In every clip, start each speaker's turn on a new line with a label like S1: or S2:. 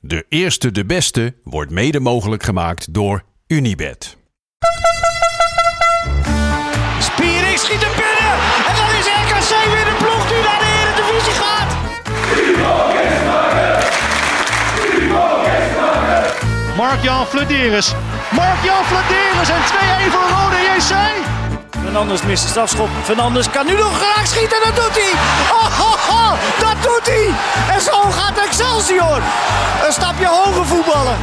S1: De eerste de beste wordt mede mogelijk gemaakt door Unibed.
S2: Spiering schiet hem binnen. En dan is RKC weer de ploeg die naar de Eredivisie gaat.
S3: Mark-Jan Flederis. Mark-Jan Flederis en 2-1 voor Rode JC.
S2: Fernandes mist de strafschop. Fernandes kan nu nog graag schieten. Dat doet hij. Oh, oh, oh, dat doet hij. En zo gaat Excelsior. Een stapje hoger voetballen.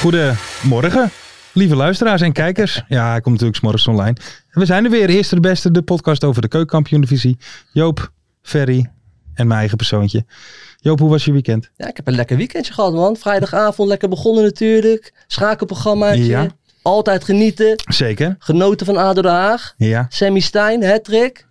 S4: Goedemorgen, lieve luisteraars en kijkers. Ja, hij komt natuurlijk s'morgens online. En we zijn er weer, eerste de beste, de podcast over de keukenkampioen-divisie. Joop, Ferry en mijn eigen persoontje. Joop, hoe was je weekend?
S5: Ja, ik heb een lekker weekendje gehad, man. Vrijdagavond lekker begonnen natuurlijk. Schakelprogrammaatje.
S4: Ja.
S5: Altijd genieten.
S4: Zeker.
S5: Genoten van ADO Den Haag.
S4: Ja,
S5: Sammy Stein, hattrick.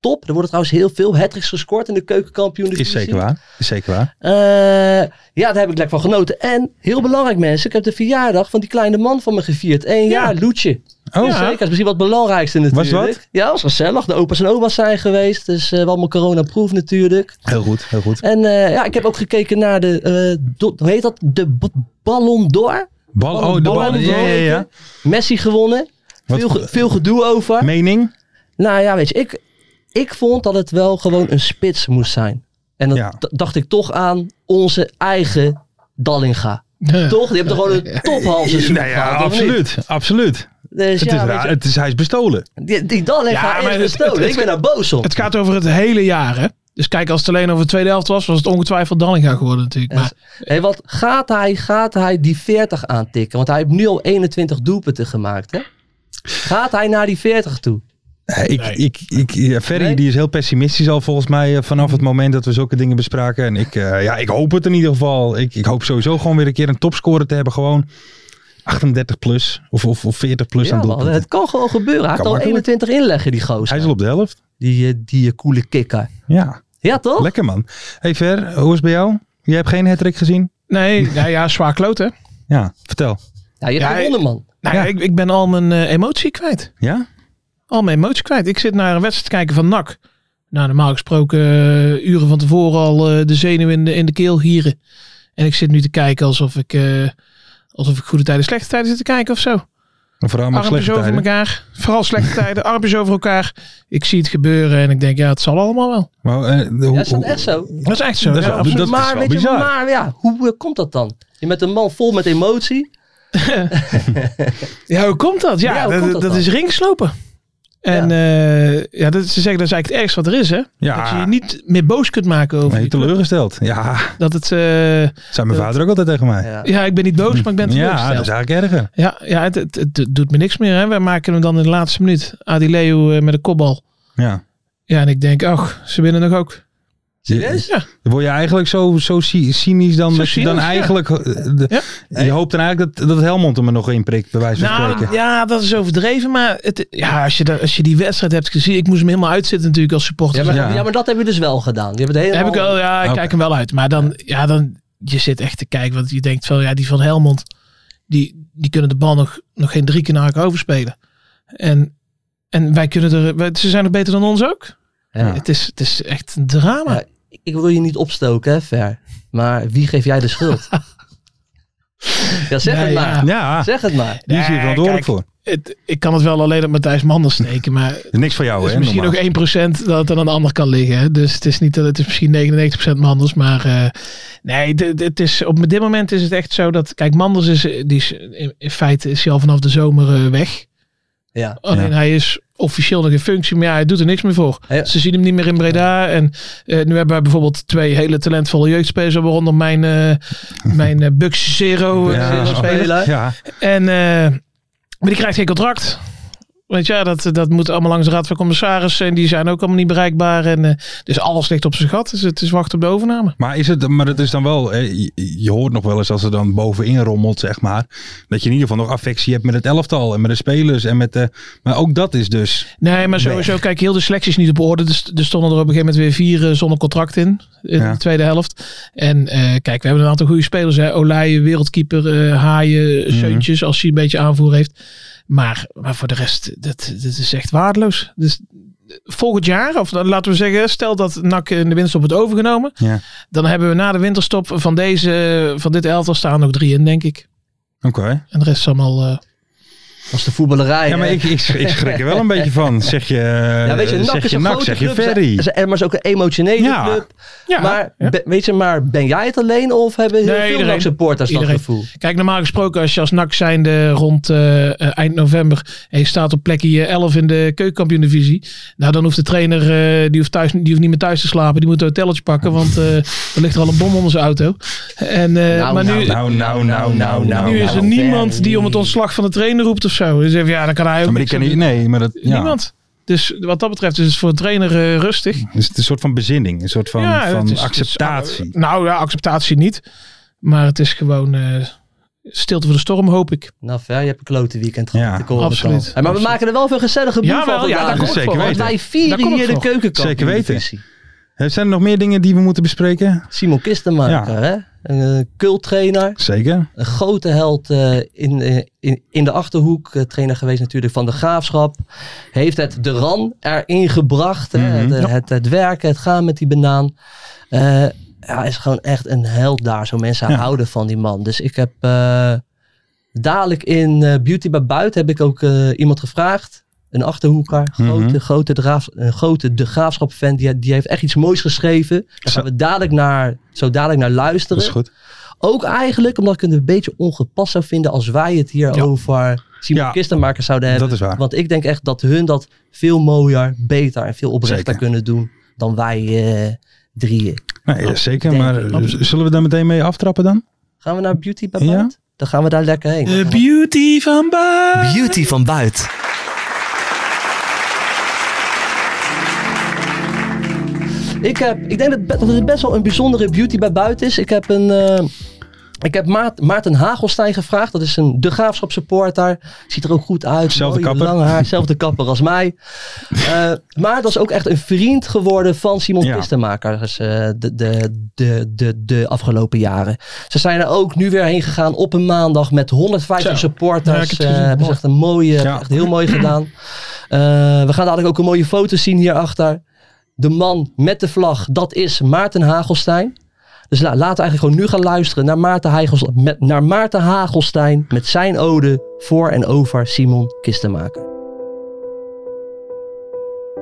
S5: Top. Er worden trouwens heel veel hattricks gescoord in de keukenkampioen.
S4: is zeker waar. Is zeker waar.
S5: Eh, ja, daar heb ik lekker van genoten. En heel belangrijk mensen, ik heb de verjaardag van die kleine man van me gevierd. Eén jaar, Loetje.
S4: Oh,
S5: Ja, zeker. Dat is misschien wat het belangrijkste natuurlijk.
S4: wat?
S5: Ja, was gezellig. De opa's en oma's zijn geweest. Dus eh wel mijn coronaproof natuurlijk.
S4: heel goed, heel goed.
S5: En eh, ja, ik heb ook gekeken naar de, eh, do- hoe heet dat? De b- Ballon d'Or.
S4: Bal, oh, de bal.
S5: Ballon
S4: Ja,
S5: d'Or,
S4: ja, ja.
S5: Messi gewonnen.
S4: Wat
S5: Veel,
S4: ge-
S5: ge- veel gedoe over.
S4: Mening?
S5: nou ja, weet je, ik, ik vond dat het wel gewoon een spits moest zijn. En dan
S4: Ja.
S5: d- dacht ik toch aan onze eigen Dallinga. Toch? Die hebt er gewoon een tophals in
S4: Nou ja, absoluut, absoluut.
S5: Dus
S4: Het is
S5: ja, weet
S4: raar,
S5: je,
S4: het is, hij is bestolen.
S5: die, die Dallinga
S6: Ja, maar
S5: is
S6: het-
S5: bestolen.
S6: het- het-
S5: ik ben daar boos op.
S6: Het gaat over het hele jaar, hè? Dus kijk, als het alleen over de tweede helft was, was het ongetwijfeld Dallinga geworden natuurlijk. Maar
S5: Hé, want gaat hij, gaat hij die 40 aantikken? Want hij heeft nu al 21 doelpunten gemaakt, hè? Gaat hij naar die 40 toe?
S4: Eh, Ik,
S6: Nee.
S4: ik, ik, ja, Ferry
S5: Nee?
S4: die is heel pessimistisch al volgens mij eh, vanaf het moment dat we zulke dingen bespraken. En ik, eh, ja, ik hoop het in ieder geval. Ik, ik hoop sowieso gewoon weer een keer een topscorer te hebben. Gewoon 38 plus of, of, of 40 plus
S5: Ja,
S4: aan
S5: man,
S4: doelpunten.
S5: het kan gewoon gebeuren. Hij
S4: Kan
S5: heeft al
S4: makkelijk.
S5: 21 inleggen, die gozer.
S4: Hij is al op de helft.
S5: Die, eh, die eh, coole kikker.
S4: Ja,
S5: Ja, toch?
S4: lekker man. Hey Ver, hoe is het bij jou? Jij hebt geen hattrick gezien?
S6: nee, nou ja, zwaar kloot, hè?
S4: Ja, vertel.
S5: Ja, je hebt
S6: Ja,
S5: gewonnen, man.
S6: Nou ja,
S4: Ja.
S6: ik, ik ben al mijn eh, emotie kwijt.
S4: Ja?
S6: Al mijn emotie kwijt. Ik zit naar een wedstrijd te kijken van NAC. Nou, normaal gesproken eh, uren van tevoren al eh, de zenuwen in de, in de keel gieren. En ik zit nu te kijken alsof ik, eh, alsof ik goede tijden, slechte tijden zit te kijken of zo.
S4: En Vooral maar
S6: armpjes
S4: slechte
S6: over
S4: tijden.
S6: elkaar. Vooral slechte tijden, armpjes over elkaar. Ik zie het gebeuren en ik denk, ja, het zal allemaal wel.
S4: Maar, eh, de- hoe-
S5: Ja, is dat
S4: hoe-
S5: echt zo?
S6: Dat is echt zo.
S4: Dat is
S6: ja,
S4: wel-
S6: absoluut.
S4: dat is
S5: maar,
S4: wel
S5: weet je,
S4: bizar.
S5: maar ja, hoe eh, komt dat dan? Je bent een man vol met emotie.
S6: Ja, hoe komt dat? Ja,
S5: Ja, hoe
S6: dat,
S5: komt dat
S6: dat
S5: dan?
S6: is ringslopen. En ja, ja dat, ze zeggen dat is eigenlijk het ergste wat er is, hè? Dat je je
S4: ja,
S6: niet meer boos kunt maken over
S4: nee,
S6: je club.
S4: teleurgesteld. Ja,
S6: Dat het, eh,
S4: zei mijn
S6: Dat-
S4: vader ook altijd tegen mij.
S5: Ja.
S6: ja, ik ben niet boos, maar ik ben
S4: Ja, dat
S6: teleurgesteld.
S4: is eigenlijk erger.
S6: Ja, ja het, het, het doet me niks meer, hè? Wij maken hem dan in de laatste minuut. Adileu eh, met een kopbal.
S4: Ja.
S6: Ja, en ik denk, ach, ze winnen nog ook.
S5: Serieus?
S6: Ja,
S4: Dan word je eigenlijk zo, zo cy- cynisch dan
S6: Zo
S4: dat je dan
S6: cynisch, ja.
S4: eigenlijk... eh, de- Je hoopt dan eigenlijk dat, dat Helmond hem er nog in prikt, bij wijze van
S6: nou,
S4: spreken.
S6: ja, dat is overdreven, maar het, ja, als, je dat, als je die wedstrijd hebt gezien, ik moest hem helemaal uitzitten natuurlijk als supporter.
S5: Ja, maar,
S4: Ja.
S5: ja, maar dat hebben we dus wel gedaan. Je hebt het
S6: Heb
S5: helemaal...
S6: ik wel, ja, ik
S4: Oké.
S6: kijk hem wel uit. Maar dan, ja, dan, je zit echt te kijken, want je denkt van, ja, die van Helmond, die, die kunnen de bal nog, nog geen drie keer naar elkaar overspelen. En, en wij kunnen er, wij- ze zijn nog beter dan ons ook.
S5: Ja.
S6: Het, is, het is echt een drama.
S5: Ja, ik wil je niet opstoken, hè, Fer. Maar wie geef jij de schuld? Ja, zeg
S6: Nee,
S5: het maar.
S6: ja.
S4: Ja,
S5: Zeg het maar.
S4: die is hier
S6: Nee,
S4: verantwoordelijk
S6: kijk,
S4: voor.
S6: Het, ik kan het wel alleen op Matthijs Manders steken, maar het
S4: Niks van jou,
S6: is
S4: hè?
S6: misschien
S4: normaal.
S6: nog 1% dat het aan de ander kan liggen. hè. Dus het is niet dat het is misschien 99% Manders, maar eh, nee, d- d- het is, op dit moment is het echt zo dat, kijk, Manders is, eh, die is in, in feite is hij al vanaf de zomer eh, weg.
S5: Ja.
S6: Alleen
S4: Ja.
S6: hij is officieel nog in functie, maar ja, hij doet er niks meer voor.
S5: Ja.
S6: Ze zien hem niet meer in Breda. En eh, nu hebben we bijvoorbeeld twee hele talentvolle jeugdspelers, waaronder mijn, eh mijn eh, Bux Zero eh,
S4: Ja,
S6: Zero
S4: zo.
S6: speler.
S4: Ja,
S6: En, eh, maar die krijgt geen contract. Weet je, ja, dat, dat moet allemaal langs de Raad van Commissarissen. En die zijn ook allemaal niet bereikbaar. En, eh, dus alles ligt op zijn gat. Dus het is wachten op de overname.
S4: maar, is het, maar het is dan wel, eh, je, je hoort nog wel eens als er dan bovenin rommelt, zeg maar, dat je in ieder geval nog affectie hebt met het elftal en met de spelers. En met de, maar ook dat is dus,
S6: Nee, maar sowieso, kijk, heel de selectie is niet op orde. Dus er stonden er op een gegeven moment weer vier eh, zonder contract in. In
S4: Ja.
S6: de tweede helft. En eh, kijk, we hebben een aantal goede spelers. Hè? Olaaien, wereldkeeper, eh Haaien, Seuntjes. Als hij een beetje aanvoer heeft. Maar, maar voor de rest, dat, dat is echt waardeloos. Dus volgend jaar, of dan laten we zeggen, stel dat NAC in de winterstop wordt overgenomen.
S4: ja,
S6: Dan hebben we na de winterstop van, deze, van dit elftal staan ook drie in, denk ik.
S4: oké.
S6: En de rest is allemaal... eh,
S5: Dat is de voetballerij.
S4: Ja, maar
S5: hè?
S4: ik, ik, ik schrik er wel een beetje van. Zeg je,
S5: Ja, weet je, NAC
S4: zeg
S5: is
S4: je
S5: een
S4: NAC,
S5: grote
S4: zeg je
S5: club. ze-
S4: Ferry.
S5: ze- en maar is ook een emotionele
S4: Ja.
S5: club.
S6: ja,
S5: maar,
S6: ja.
S5: be- weet je, maar ben jij het alleen of hebben heel
S6: Nee,
S5: veel
S6: iedereen.
S5: NAC supporters dat
S6: Iedereen.
S5: gevoel?
S6: Kijk, normaal gesproken, als je als NAC zijnde rond eh, eh, eind november en je staat op plekje eh, 11 in de keukenkampioen-divisie, nou dan hoeft de trainer, eh, die, hoeft thuis, die hoeft niet meer thuis te slapen, die moet een hotelletje pakken, want eh, er ligt er al een bom onder zijn auto. En, eh, maar nu,
S4: nou, nou, nou, nou, nou,
S6: nu is er
S5: nou,
S6: niemand
S5: Ferry.
S6: die om het ontslag van de trainer roept of zo. Dus even, ja, dan kan hij ook
S4: Ja, maar die
S6: niks
S4: ken
S6: aan
S4: ik,
S6: doen.
S4: nee, maar dat, ja.
S6: Niemand. Dus wat dat betreft is het voor de trainer eh, rustig.
S4: Dus het is een soort van bezinning, een soort van,
S6: Ja, het
S4: van
S6: is- het is-
S4: acceptatie.
S6: nou ja, acceptatie niet. Maar het is gewoon eh, stilte voor de storm, hoop ik.
S5: Nou, ver, je hebt een klote weekend gehad.
S4: Ja,
S5: ik hoor het
S6: absoluut.
S5: al. Hey, maar we maken er wel veel gezellige boel
S6: Jawel,
S5: van
S6: ja, daar
S5: vandaag.
S6: kom ik
S4: Zeker
S6: voor.
S4: weten.
S5: Want wij
S6: Daar
S5: vieren
S6: kom ik
S5: hier de
S6: voor.
S5: keukenkamp.
S4: Zeker weten. Eh, Zijn er nog meer dingen die we moeten bespreken?
S5: Simon Kistenmaker, hè? Een eh, culttrainer.
S4: Zeker.
S5: Een grote held eh, in, eh, in, in de Achterhoek. eh, trainer geweest natuurlijk van de Graafschap. Heeft het de RAN erin gebracht. hè,
S4: Mhm.
S5: het, het, het werken, het gaan met die banaan. Eh ja, is gewoon echt een held daar. Zo mensen
S4: Ja.
S5: houden van die man. Dus ik heb eh, dadelijk in eh, Beauty bij Buiten heb ik ook eh, iemand gevraagd. Een Achterhoeker, grote,
S4: Mhm.
S5: grote, draaf, een grote De Graafschap fan. Die, die heeft echt iets moois geschreven. Daar gaan
S4: Zo-
S5: we dadelijk naar, zo dadelijk naar
S4: Dat
S5: luisteren.
S4: is goed.
S5: Ook eigenlijk omdat ik het een beetje ongepast zou vinden als wij het hier
S6: Ja.
S5: over Simon
S4: Ja,
S5: Kistenmaker zouden hebben.
S4: dat is waar.
S5: Want ik denk echt dat hun dat veel mooier, beter en veel oprechter
S4: Zeker.
S5: kunnen doen dan wij eh, drieën.
S4: Nee, ja, zeker,
S5: denk
S4: maar
S5: ik.
S4: eh, zullen we daar meteen mee aftrappen dan?
S5: Gaan we naar Beauty bij
S4: Ja?
S5: Buit? Dan gaan we daar lekker heen. Dan gaan we-
S6: beauty van Baan.
S7: Beauty van buiten.
S5: Ik, heb, ik denk dat, be- dat het best wel een bijzondere Beauty bij Buiten is. Ik heb een... eh, ik heb Maart- Maarten Hagelstein gevraagd. Dat is een De Graafschap supporter. Ziet er ook goed uit.
S4: Zelfde
S5: Mooi,
S4: kapper.
S5: Lang haar, zelfde kapper als mij. Eh, maar dat is ook echt een vriend geworden van Simon
S4: Ja.
S5: Kistenmaker. Dus, eh, de, de, de, de, de afgelopen jaren. Ze zijn er ook nu weer heen gegaan op een maandag met 150
S6: Zo. Ja, ik
S5: supporters.
S6: heb het
S5: Eh,
S6: gezien.
S5: hebben ze echt een mooie,
S4: Ja.
S5: echt heel mooi gedaan. Eh, we gaan dadelijk ook een mooie foto zien hierachter. De man met de vlag, dat is Maarten Hagelstein. Dus la- laten we eigenlijk gewoon nu gaan luisteren naar Maarten, Hagels, met, naar Maarten Hagelstein met zijn ode voor en over Simon Kistenmaker.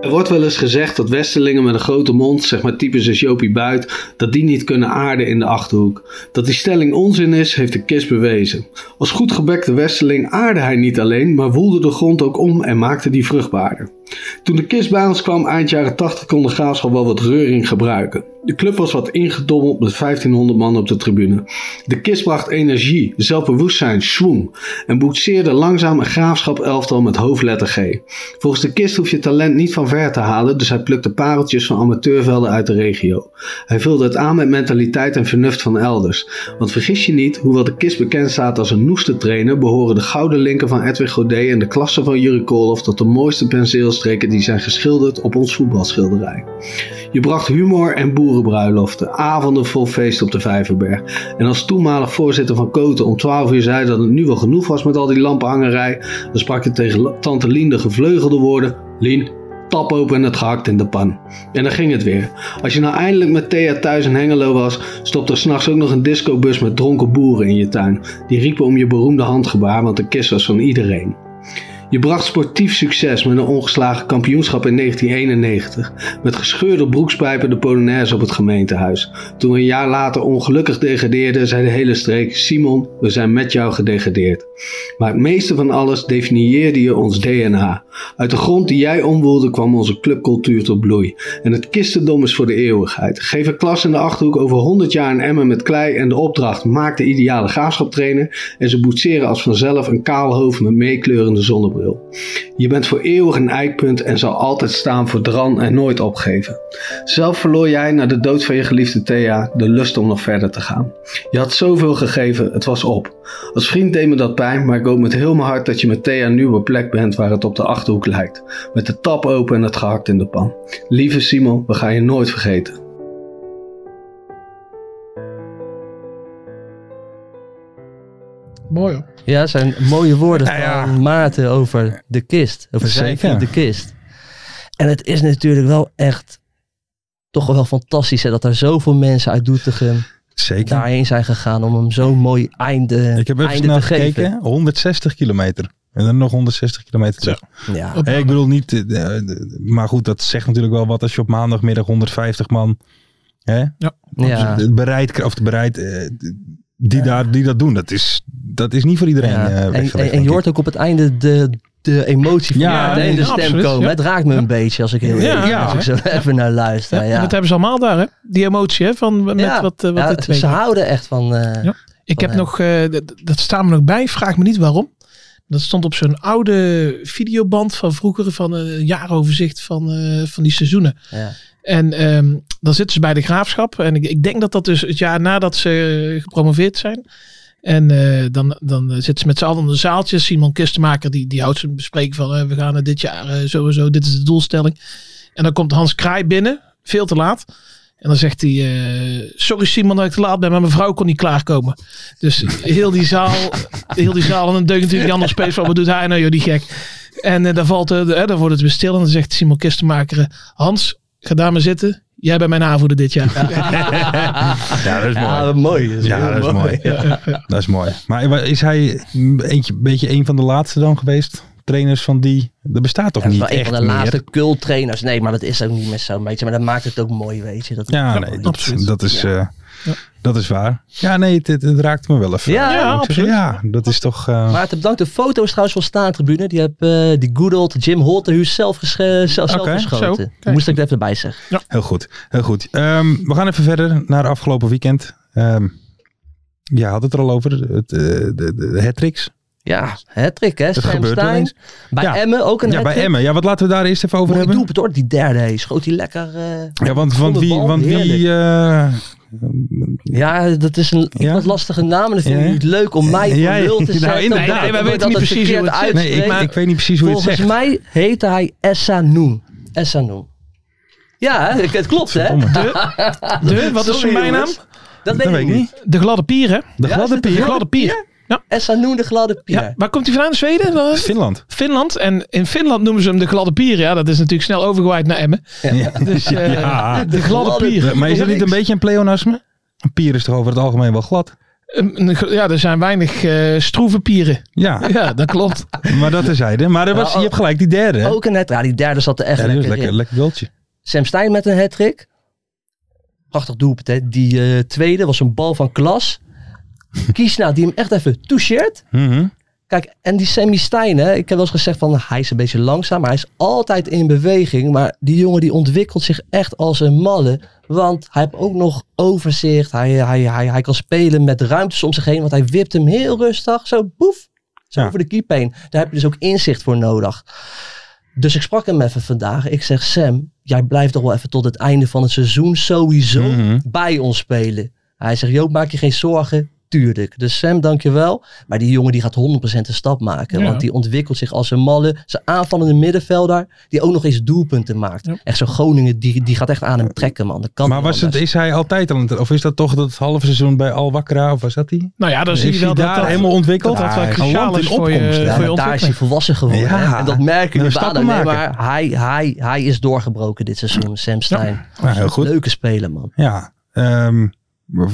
S8: Er wordt wel eens gezegd dat westerlingen met een grote mond, zeg maar types als Jopie Buit, dat die niet kunnen aarden in de Achterhoek. Dat die stelling onzin is, heeft de kist bewezen. Als goed gebekte westerling aarde hij niet alleen, maar woelde de grond ook om en maakte die vruchtbaarder. Toen de kist bij ons kwam eind jaren 80 kon de Graafschap wel wat reuring gebruiken. De club was wat ingedommeld met 1500 man op de tribune. De kist bracht energie, zelfbewustzijn, schwung en boetseerde langzaam een Graafschap elftal met hoofdletter G. Volgens de kist hoef je talent niet van ver te halen, dus hij plukte pareltjes van amateurvelden uit de regio. Hij vulde het aan met mentaliteit en vernuft van elders. Want vergis je niet, hoewel de kist bekend staat als een noeste trainer, behoren de gouden linken van Edwin Godet en de klassen van Jurrie Koolhof tot de mooiste penseelstreken die zijn geschilderd op ons voetbalschilderij. Je bracht humor en boerenbruiloften, avonden vol feest op de Vijverberg. En als toenmalig voorzitter van Koten om 12 uur zei dat het nu wel genoeg was met al die lamphangerij, dan sprak je tegen la- tante Lien de gevleugelde woorden: Lien,
S9: Tap open en het gehakt in de pan. En dan ging het weer. Als je nou eindelijk met Thea thuis in Hengelo was, stopte er s'nachts ook nog een discobus met dronken boeren in je tuin. Die riepen om je beroemde handgebaar, want de kist was van iedereen. Je bracht sportief succes met een ongeslagen kampioenschap in 1991. Met gescheurde broekspijpen de Polonaise op het gemeentehuis. Toen we een jaar later ongelukkig degradeerden, zei de hele streek: Simon, we zijn met jou gedegradeerd. Maar het meeste van alles definieerde je ons DNA. Uit de grond die jij omwoelde kwam onze clubcultuur tot bloei. En het kistendom is voor de eeuwigheid. Geef een klas in de achterhoek over 100 jaar een emmer met klei en de opdracht: maak de ideale graafschaptrainer. En ze boetseren als vanzelf een kaal hoofd met meekleurende zonnebril. Je bent voor eeuwig een eikpunt en zal altijd staan voor dran en nooit opgeven. Zelf verloor jij na de dood van je geliefde Thea de lust om nog verder te gaan. Je had zoveel gegeven, het was op. Als vriend deed me dat pijn, maar ik hoop met heel mijn hart dat je met Thea nu op een plek bent waar het op de achterhoek lijkt. Met de tap open en het gehakt in de pan. Lieve Simon, we gaan je nooit vergeten.
S6: Mooi hoor.
S5: Ja, het zijn mooie woorden
S4: Nou ja.
S5: van Maarten over de kist. Over zijn
S4: Zeker.
S5: vriend de kist. En het is natuurlijk wel echt toch wel fantastisch hè, dat er zoveel mensen uit Doetinchem
S4: Zeker.
S5: daarheen zijn gegaan om hem zo'n mooi einde,
S4: ik heb even
S5: Nou, einde
S4: snel
S5: te geven.
S4: gekeken. 160 kilometer. En dan nog 160 kilometer terug.
S5: Ja.
S6: Op-
S4: Hé, ik bedoel niet, eh, eh, maar goed, dat zegt natuurlijk wel wat als je op maandagmiddag 150 man hè,
S5: Ja.
S4: dus bereid, of bereid eh, die, daar, die dat doen. Dat is, dat is niet voor iedereen
S5: Ja.
S4: eh,
S5: En-
S4: weggelegd,
S5: en, en,
S4: denk
S5: je
S4: ik.
S5: hoort ook op het einde de, de emotie van
S4: Ja,
S5: ja, en
S6: nee,
S5: de
S6: ja,
S5: stem
S6: absoluut,
S5: komen.
S6: ja.
S5: Het raakt me een beetje als ik heel
S6: Ja,
S5: eerlijk-
S4: ja,
S5: als ik zo even naar luister.
S6: Ja,
S5: Ja,
S6: Dat hebben ze allemaal daar, hè? Die emotie, hè? Van met
S5: Ja.
S6: wat, eh, wat
S5: Ja,
S6: dit
S5: ze
S6: weet.
S5: houden echt van. eh,
S6: Ja. Ik
S5: van
S6: heb
S5: hem.
S6: nog, eh, dat, dat staan me nog bij, vraag me niet waarom. Dat stond op zo'n oude videoband van vroeger, van een jaaroverzicht van, eh, van die seizoenen.
S5: ja.
S6: En ehm, dan zitten ze bij de graafschap. En ik, ik denk dat dat dus het jaar nadat ze eh, gepromoveerd zijn. En eh, dan, dan eh, zitten ze met z'n allen in een zaaltje. Simon Kistenmaker die, die houdt zijn bespreking van eh, we gaan het dit jaar eh, zo en zo. Dit is de doelstelling. En dan komt Hans Kraai binnen, veel te laat. En dan zegt hij, eh, sorry Simon dat ik te laat ben, maar mijn vrouw kon niet klaarkomen. Dus heel die zaal, heel die zaal en dan deugt natuurlijk die andere space van, wat doet hij nou joh, die gek. En eh, dan, valt, eh, de- eh, dan wordt het weer stil en dan zegt Simon Kistenmaker, eh, Hans, ga daar maar zitten. Jij bent mijn aanvoerder dit jaar.
S4: Ja, dat is mooi.
S5: Ja, mooi. is
S4: Ja,
S5: heel
S4: dat is mooi. Dat is mooi. Maar is hij een eentje- beetje een van de laatste dan geweest? Trainers van die, dat bestaat toch
S5: Ja,
S4: niet
S5: wel een
S4: echt
S5: van de
S4: meer?
S5: laatste cultrainers. Nee, maar dat is ook niet meer zo, weet je. Maar dat maakt het ook mooi, weet je. Dat
S4: Ja,
S5: dat-
S4: nee, dat,
S6: absoluut.
S4: dat, is, eh,
S6: Ja.
S4: dat is waar. Ja, nee, het, het, het raakt me wel even.
S5: Ja,
S4: Ik
S5: ja,
S4: zeg,
S6: absoluut.
S4: Ja, dat is toch... eh,
S5: Maarten, bedankt. De foto's trouwens van Staantribune. Die heb eh, die good old Jim Holterhuis zelf, gesche- zelf, zelf
S4: Oké,
S5: geschoten.
S6: zo. Kijk.
S5: Moest ik er even bij zeggen.
S4: Heel goed, heel goed. Ehm, we gaan even verder naar afgelopen weekend. Ehm ja, had het er al over. Het, eh, de, de, de hat-tricks.
S5: Ja, hattrick hè.
S4: Het
S5: Sam
S4: gebeurt wel
S5: Stein.
S4: eens.
S5: Bij
S4: Ja.
S5: Emmen ook een
S4: Ja, bij
S5: hat-trick.
S4: Emmen. Ja, wat laten we daar eerst even over
S5: Mooi
S4: hebben?
S5: doelpunt hoor, die derde. Hij schoot die lekker... eh,
S4: Ja, want, want
S5: Volle
S4: wie...
S5: bal,
S4: Want wie eh,
S5: Ja, dat is een ik
S4: Ja?
S5: had lastige naam. En dat vind ik
S4: Ja.
S5: niet leuk om mij
S4: Ja,
S5: voor lul te
S4: nou,
S5: zetten.
S4: inderdaad.
S5: omdat
S4: Nee,
S6: wij
S5: ik
S6: weten
S5: dat
S6: niet
S5: het
S6: precies hoe
S5: verkeerd
S6: het zit.
S4: nee,
S5: uitspreekt.
S4: ik, ik weet niet precies hoe je het
S5: Volgens
S4: zegt.
S5: mij heette hij Essa Noen. Essa Noen. Ja, hè, het klopt hè.
S4: Verdomme.
S6: De, wat is
S5: Sorry,
S6: zijn bijnaam?
S5: jongens. Dat weet
S4: Dat
S5: ik niet.
S6: De gladde pier, hè?
S4: De
S5: Ja, is
S4: gladde
S5: het de
S4: pier.
S6: De gladde pier.
S5: Essa Noen, de gladde pier.
S6: Ja. Waar komt hij vandaan? Zweden? Eh,
S4: Finland.
S6: Finland. En in Finland noemen ze hem de gladde pier. Ja, dat is natuurlijk snel overgewaaid naar Emmen.
S4: Ja.
S6: Dus eh,
S4: Ja.
S6: de gladde
S5: gladde
S6: pier.
S5: pier.
S4: Maar is dat niet een beetje een pleonasme? Een pier is toch over het algemeen wel glad?
S6: Een- een gl- Ja, er zijn weinig eh stroeve pieren.
S4: Ja,
S6: Ja, dat klopt.
S4: maar dat terzijde. Maar er was, je hebt gelijk, die derde. hè?
S5: Ook een hat Ja, die derde zat er echt
S4: Ja, die was
S5: oh, lekker,
S4: lekker, lekker
S5: in.
S4: goaltje.
S5: Sam Stein met een hat-trick. Prachtig doelpunt, hè. Die eh, tweede was een bal van Klas. Kiesna, die hem echt even toucheert.
S4: Mhm.
S5: Kijk, en die Sammy Stein, hè, ik heb wel eens gezegd van hij is een beetje langzaam, maar hij is altijd in beweging. Maar die jongen die ontwikkelt zich echt als een malle. Want hij heeft ook nog overzicht. Hij, hij, hij, hij kan spelen met ruimtes om zich heen. Want hij wipt hem heel rustig. Zo boef. Zo
S4: Ja.
S5: over de keep heen. Daar heb je dus ook inzicht voor nodig. Dus ik sprak hem even vandaag. Ik zeg, Sam, jij blijft toch wel even tot het einde van het seizoen sowieso
S4: Mhm.
S5: bij ons spelen. Hij zegt, Joop, maak je geen zorgen. Tuurlijk. Dus Sam, dankjewel. Maar die jongen die gaat 100% een stap maken.
S6: Ja.
S5: Want die ontwikkelt zich als een malle. Zijn aanvallende middenvelder. Die ook nog eens doelpunten maakt.
S6: Ja.
S5: Echt zo'n Groningen, die, die gaat echt aan hem trekken, man. Dat kan
S4: Maar
S5: niet
S4: was het,
S5: anders.
S4: is hij altijd al... Of is dat toch dat halve seizoen bij Al Wakkera? Of was dat die?
S6: Nou ja, dan
S4: Is
S6: zie je
S4: hij
S6: wel dat
S4: daar
S6: dat
S4: helemaal ontwikkeld?
S6: Dat dat wel
S4: Ah,
S6: cruciaal
S4: Haaland
S6: is
S4: in
S6: voor je,
S4: opkomst, ja.
S6: voor je
S5: Ja, maar daar is hij
S6: ontwikkeling.
S5: volwassen geworden.
S4: Ja.
S5: hè. En dat merken
S4: Nou,
S5: de
S4: stappen
S5: baden. Nee,
S4: maken.
S5: maar hij, hij, hij is doorgebroken dit seizoen, Sam Stein.
S4: Nou, heel goed.
S5: Leuke speler, man.
S4: Ja, ehm,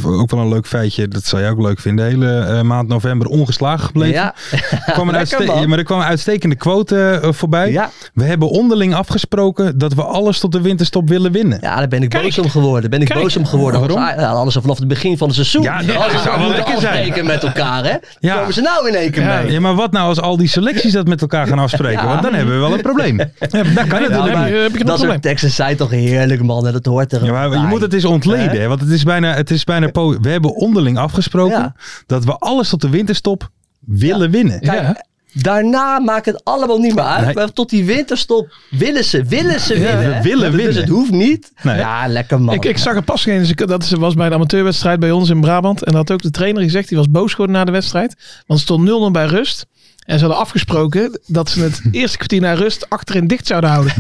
S4: ook wel een leuk feitje. Dat zou jij ook leuk vinden. De hele eh, maand november ongeslagen gebleven.
S5: Ja,
S4: Er kwam een
S5: Lekker,
S4: uitste-
S5: man.
S4: maar er kwam een uitstekende quote eh, voorbij.
S5: ja.
S4: We hebben onderling afgesproken dat we alles tot de winterstop willen winnen.
S5: ja, daar ben ik
S6: Kijk.
S5: boos om geworden. Ben ik
S6: Kijk.
S5: boos om geworden.
S4: Waarom?
S5: Anders- ja, Anders al vanaf het begin van het seizoen.
S4: Ja, dat
S5: Als we
S4: zou wel
S5: moeten
S4: lekker zijn.
S5: afspreken met elkaar, hè.
S4: Ja.
S5: Komen ze nou in één keer
S6: Ja.
S5: mee.
S4: Ja, maar wat nou als al die selecties dat met elkaar gaan afspreken? Want dan hebben we wel een probleem. Ja, dat kan
S6: Dan
S4: natuurlijk
S6: heb
S4: niet.
S6: je, Eh, heb je geen
S5: Dat
S6: probleem.
S5: soort teksten zijn toch heerlijk, man. En dat hoort er
S4: Ja, maar je
S5: bij.
S4: moet het eens ontleden.
S5: Hè?
S4: Hè? Want het is bijna, het is bijna po- we hebben onderling afgesproken
S5: Ja.
S4: dat we alles tot de winterstop willen winnen.
S5: Kijk, Daarna maakt het allemaal niet meer uit.
S4: Nee.
S5: Maar tot die winterstop willen ze, willen ze
S4: we
S5: winnen. hè.
S4: willen
S5: dus
S4: winnen.
S5: het hoeft niet.
S4: Nee.
S5: Ja, lekker man.
S6: Ik, ik zag er pas geen. dus ik- Dat was bij de amateurwedstrijd bij ons in Brabant. En dat had ook de trainer gezegd. Die was boos geworden na de wedstrijd. Want het stond 0-0 bij rust. En ze hadden afgesproken dat ze het eerste kwartier na rust achterin dicht zouden houden.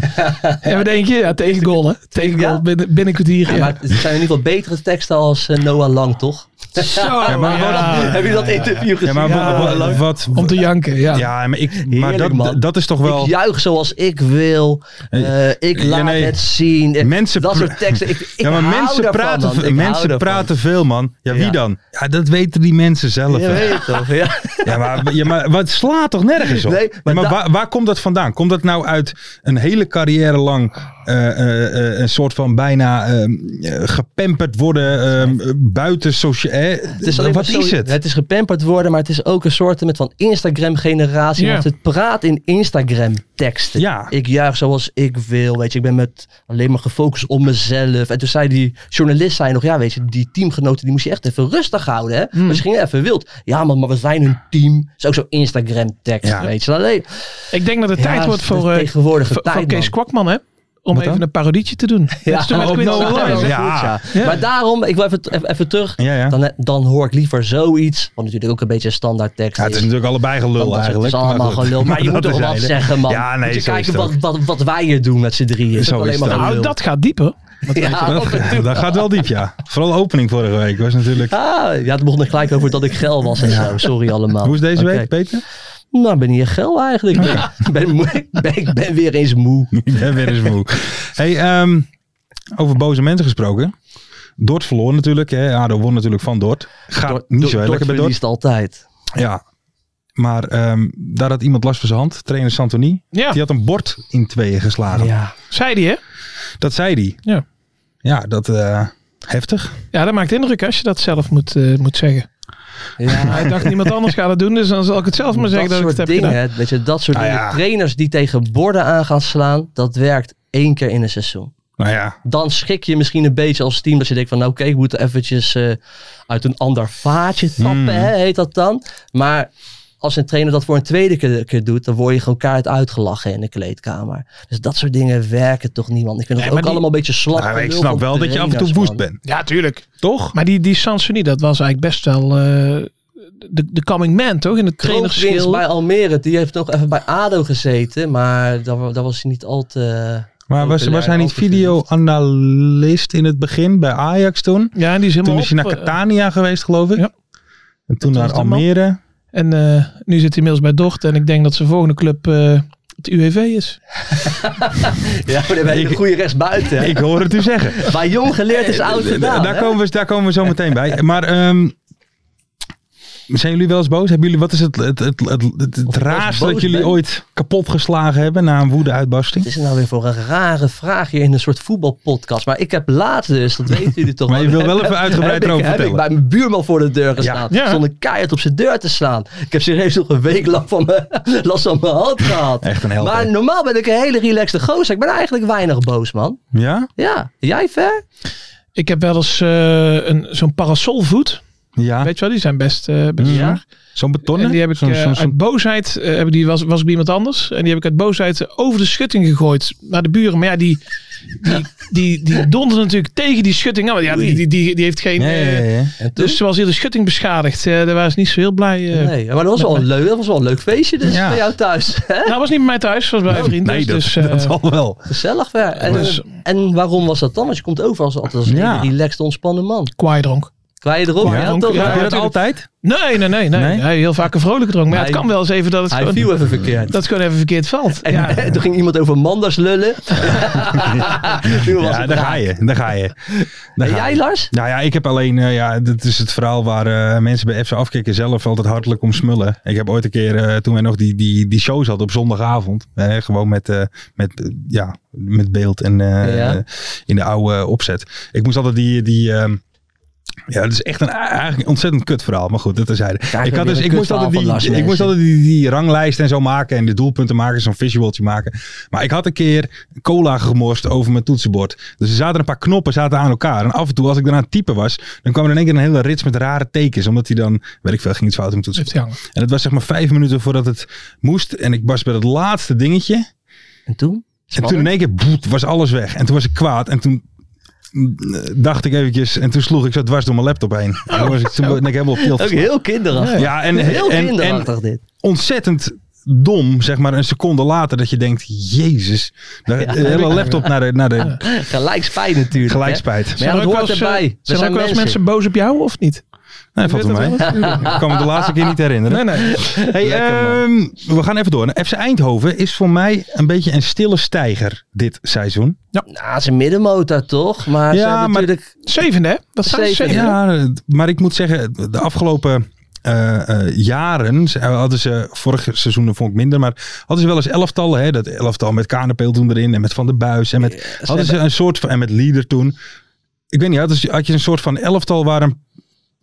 S6: en we denken, ja, tegen goal, hè? Tegen goal,
S5: Ja?
S6: binnen, binnen kwartier.
S5: Ja,
S6: Ja,
S5: maar het zijn in ieder geval betere teksten als eh, Noah Lang, toch?
S6: Zo,
S4: maar
S6: ja.
S5: Heb je dat interview gezien?
S4: Ja, maar wa- wa- wat...
S6: Om te janken, ja.
S4: Ja, maar, ik, maar
S5: Heerlijk,
S4: dat,
S5: man.
S4: dat is toch wel...
S5: Ik juich zoals ik wil. Eh, ik
S4: Ja,
S5: laat
S4: nee.
S5: het zien. Eh,
S4: Mensen
S5: dat
S4: pra-
S5: soort teksten. Ik, ik
S4: ja, maar
S5: hou
S4: mensen
S5: daarvan,
S4: praten,
S5: man.
S4: ve-
S5: Ik hou
S4: mensen
S5: daarvan.
S4: praten veel, man. Ja, wie
S5: Ja.
S4: dan? Ja, dat weten die mensen zelf.
S5: Je
S4: hè.
S5: weet het toch? Ja.
S4: Ja, maar, ja, maar wat slaat toch nergens op?
S5: Nee,
S4: Ja, maar
S5: maar da-
S4: waar, waar komt dat vandaan? Komt dat nou uit een hele carrière lang eh, eh, eh, een soort van bijna ehm, eh, gepemperd worden ehm, eh, buiten social... eh,
S5: Het is alleen
S4: wat
S5: maar zo-
S4: is het?
S5: Het is gepamperd worden, maar het is ook een soort met van Instagram-generatie.
S6: Ja.
S5: Want het praat in Instagram-teksten.
S4: Ja.
S5: Ik juich zoals ik wil. Weet je, ik ben met alleen maar gefocust op mezelf. En toen zei die journalist zei nog, ja, weet je, die teamgenoten die moest je echt even rustig houden. Hè?
S6: Hmm.
S5: Maar ze gingen even wild. Ja, man, maar we zijn een team. Dat is ook zo'n Instagram-tekst.
S4: Ja.
S5: Weet je, alleen.
S6: Ik denk dat het
S5: Ja,
S6: tijd
S5: het
S6: wordt
S5: is
S6: voor,
S5: de
S6: eh,
S5: tegenwoordige
S6: voor- voor
S5: tijd,
S6: Kees
S5: man.
S6: Kwakman, hè? Om
S4: Wat
S6: even
S4: dan?
S6: een parodietje te doen.
S5: Ja.
S6: Dat is toen met
S4: Oh,
S6: Quincy
S4: nou,
S6: Jones, hè?
S4: ja.
S6: Ja.
S5: Maar daarom, ik wil even, even, even terug.
S4: Ja, ja.
S5: Dan, dan hoor ik liever zoiets. Wat natuurlijk ook een beetje een standaard tekst
S4: Ja, het is natuurlijk allebei
S5: Want
S4: gelul
S5: dat
S4: eigenlijk.
S5: Het is allemaal
S4: maar goed.
S5: gelul. Maar je
S4: Dat
S5: moet toch
S4: is
S5: wat
S4: eigenlijk-
S5: zeggen, man.
S4: Ja, nee,
S5: moet je
S4: zo is
S5: kijken
S4: het
S5: wat, wat, wat wij hier doen met z'n drieën. Is
S4: Zo is
S5: ook alleen maar
S4: het ook.
S5: gelul.
S6: Nou, dat gaat dieper.
S5: ja,
S4: Dat,
S5: af en toe.
S4: dat gaat wel diep, ja. Vooral de opening vorige week was natuurlijk...
S5: Ah, ja, het begon er gelijk over dat ik geil was en zo. Sorry allemaal.
S4: Hoe is deze
S5: Oké.
S4: week, Peter?
S5: Nou, ik ben hier geil eigenlijk. Ik ben, moe- ik ben, ik ben weer eens moe.
S4: Ik ben weer eens moe. Hey, ehm, over boze mensen gesproken. Dort verloor natuurlijk. Hè. ADO won natuurlijk van Dort. Gaat
S5: Dort-
S4: niet
S5: Dort-
S4: zo heel
S5: Dort
S4: lekker bij Dort.
S5: verliest altijd.
S4: Ja. Maar ehm, daar had iemand last van zijn hand. Trainer Santoni. Die
S6: Ja,
S4: had een bord in tweeën geslagen.
S5: Ja.
S6: zei die, hè?
S4: Dat zei hij.
S6: Ja.
S4: Ja, dat... eh, heftig.
S6: Ja, dat maakt indruk als je dat zelf moet, eh, moet zeggen.
S5: ja.
S6: Ik dacht, niemand anders gaat het doen, dus dan zal ik het zelf maar zeggen dat,
S5: dat
S6: ik het
S5: soort
S6: heb
S5: dingen,
S6: gedaan.
S5: hè, weet je, dat soort
S4: Nou
S5: dingen.
S4: ja.
S5: Trainers die tegen borden aan gaan slaan, dat werkt één keer in een seizoen.
S4: Nou ja.
S5: dan schrik je misschien een beetje als team. Dat je denkt van, nou, oké, ik moet eventjes eh, uit een ander vaatje tappen,
S4: Mm.
S5: hè, heet dat dan. Maar als een trainer dat voor een tweede keer, keer doet, dan word je gewoon kaart uitgelachen in de kleedkamer. Dus dat soort dingen werken toch niemand. Ik vind dat
S6: Nee,
S5: ook
S6: maar die-
S5: allemaal een beetje slap.
S4: Nou, ik
S5: gelul
S4: snap
S5: van
S4: wel dat je af en toe
S5: trainers,
S4: woest
S5: man.
S4: bent.
S6: Ja, tuurlijk.
S4: Toch?
S6: Maar die, die Sansoni, dat was eigenlijk best wel eh, de, de coming man, toch? In het
S5: Kroonprins
S6: trainerschil.
S5: bij Almere, die heeft nog even bij ADO gezeten, maar daar, daar was hij niet al te...
S4: Maar was, was
S5: populair,
S4: hij niet
S5: altijd
S4: videoanalist in het begin bij Ajax toen?
S6: Ja, die is helemaal
S4: Toen is hij naar
S6: op, eh,
S4: Catania geweest, geloof ik.
S6: ja.
S4: En toen
S6: was
S4: naar
S6: de man.
S4: Almere.
S6: En eh, nu zit hij inmiddels bij Dordt. En ik denk dat zijn volgende club eh, het UWV is.
S5: Ja, maar dan ben je een
S4: Ik-
S5: goede rechtsbuiten. hè.
S4: Ik hoor het u zeggen.
S5: Waar jong geleerd is oud gedaan.
S4: daar,
S5: hè.
S4: komen we, daar komen we zo meteen bij. Maar ehm, zijn jullie wel eens boos? Hebben jullie, wat is het, het, het, het, het, het
S5: Of ik wel eens
S4: raarste dat
S5: boos
S4: jullie
S5: ben?
S4: ooit kapot geslagen hebben na een woedeuitbarsting?
S5: Wat is het nou weer voor een rare vraag hier in een soort voetbalpodcast? Maar ik heb laatst dus, dat weten jullie toch
S4: Maar je
S5: wel,
S4: wil wel even uitgebreid
S5: heb ik-
S4: erover
S5: heb ik
S4: vertellen.
S5: bij mijn buurman voor de deur gestaan.
S6: Ja.
S5: Stond een keihard op zijn deur te slaan. Ik heb serieus nog een week lang van mijn, last van mijn hand gehad.
S4: Echt een held,
S5: Maar
S4: hè?
S5: normaal ben ik een hele relaxte gozer. Ik ben eigenlijk weinig boos, man.
S4: Ja?
S5: Ja, jij ver?
S6: Ik heb wel eens eh, een, zo'n parasolvoet.
S4: Ja,
S6: Weet je wel, die zijn best, eh best
S4: Ja.
S6: zwaar.
S4: zo'n betonnen.
S6: En die heb ik
S4: zo'n,
S6: eh,
S4: zo'n- zo'n-
S6: uit boosheid, eh, hebben die, was, was ik bij iemand anders. En die heb ik uit boosheid eh, over de schutting gegooid naar de buren. Maar ja, die, die, die, die donderde natuurlijk tegen die schutting. aan. Want Ja, die, die, die, die heeft geen...
S4: Ja, ja,
S6: eh,
S4: ja, ja.
S5: En toen?
S6: Dus ze was hier de schutting beschadigd. Eh, daar waren ze niet zo heel blij. eh.
S5: nee, maar dat was, wel een leuk, dat was wel een leuk feestje dus
S4: Ja.
S5: bij jou thuis. hè?
S6: Nou, was niet bij mij thuis, was bij
S5: Oh.
S6: een vriend.
S4: Nee, dat,
S6: dus, eh,
S4: dat zal wel.
S5: Gezellig. Ja. En,
S6: Dus-
S5: en waarom was dat dan? Want je komt over als, altijd als een
S4: Ja.
S5: hele relaxed, ontspannen man.
S6: kwaai dronk.
S5: Kwaai erop.
S6: Kwaai
S5: Ja,
S6: dronk,
S5: toch?
S6: ja.
S4: Heb je dat
S6: natuurlijk.
S4: altijd?
S6: Nee, nee, nee. nee.
S4: Nee?
S6: Hij heel vaak een vrolijke dronk. Maar ja, het
S5: Hij-
S6: kan wel eens even dat het
S5: Hij
S6: gewoon,
S5: viel even verkeerd.
S6: dat het gewoon even verkeerd valt.
S5: En
S6: ja.
S5: toen ging iemand over mandas lullen. Toen was
S4: Ja, daar
S5: het raak.
S4: ga je. Daar ga je. Daar
S5: En
S4: ga
S5: jij
S4: je.
S5: Lars?
S4: Nou ja, ik heb alleen, eh, ja, dat is het verhaal waar eh, mensen bij FC Afkikken zelf altijd hartelijk om smullen. Ik heb ooit een keer, eh, toen wij nog die, die, die shows hadden op zondagavond, eh, gewoon met, eh, met, eh, ja, met beeld en eh,
S5: Ja.
S4: in de oude opzet. Ik moest altijd die, die ehm, ja, dat is echt een, eigenlijk een ontzettend kut verhaal, maar goed, dat terzijde.
S5: Kijk,
S4: ik, had
S5: weer
S4: dus,
S5: een
S4: ik, moest
S5: kutverhaal
S4: altijd
S5: van Lars
S4: die, ik moest
S5: Mensen.
S4: altijd die, die ranglijst en zo maken en de doelpunten maken, zo'n visualtje maken. Maar ik had een keer cola gemorst over mijn toetsenbord. Dus er zaten een paar knoppen zaten aan elkaar. En af en toe, als ik daarna aan het typen was, dan kwam er in één keer een hele rits met rare tekens. Omdat hij dan, weet ik veel, ging iets fout in mijn
S6: Heeft
S4: toetsenbord.
S6: hij hangen.
S4: En dat was zeg maar vijf minuten voordat het moest. En ik was bij dat laatste dingetje.
S5: En toen?
S4: En toen in één keer boet, was alles weg. En toen was ik kwaad. En toen mm, dacht ik eventjes. En toen sloeg ik zo dwars door mijn laptop heen. En toen was ik, toen ben ik helemaal op tilt
S5: Ook heel kinderachtig.
S4: Ja, en,
S5: heel
S4: en, en
S5: kinderachtig dit.
S4: ontzettend dom, zeg maar, een seconde later dat je denkt, jezus, de, de hele laptop naar de, naar de
S5: Gelijk spijt natuurlijk. hè?
S4: gelijkspijt.
S5: Maar ja,
S6: Zijn
S5: dat
S6: er ook
S5: hoort
S6: wel eens, eh,
S5: erbij. We
S6: Zijn er
S5: zijn
S6: ook wel eens
S5: mensen.
S6: mensen boos op jou of niet?
S4: eh, Nee, valt wel mee. Ik kan me de laatste keer niet herinneren.
S6: Nee, nee.
S4: Hey, ehm, we gaan even door. FC Eindhoven is voor mij een beetje een stille stijger dit seizoen.
S5: Nou, ze middenmotor toch? Maar
S4: Ja,
S5: ze hebben
S4: maar-
S5: natuurlijk...
S6: Zevende, hè? Dat staat
S5: Zevende.
S6: zevende.
S4: Ja, maar ik moet zeggen, de afgelopen eh, eh, jaren ze- hadden ze, vorige seizoenen vond ik minder, maar hadden ze wel eens elftallen. Hè? Dat elftal met Kanepeel toen erin en met Van der Buis en met, hadden ze een soort van, en met Leader toen. Ik weet niet, hadden ze- had je een soort van elftal waar een,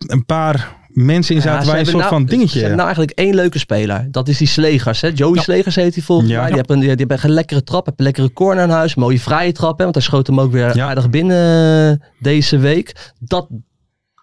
S4: een paar mensen in
S5: Ja,
S4: zaten
S5: ze
S4: waar je een
S5: hebben
S4: soort
S5: nou-
S4: van
S5: Ze
S4: dingetje...
S5: hebben nou eigenlijk één leuke speler. Dat is die Slegers. Hè? Joey Slegers heet hij volgens
S4: Ja.
S5: mij.
S4: Ja.
S5: Die hebben een, die hebben echt een lekkere trap. Heb een lekkere corner in huis. Mooie vrije trap. Hè? Want hij schoot hem ook weer
S4: Ja.
S5: aardig binnen eh, deze week. Dat,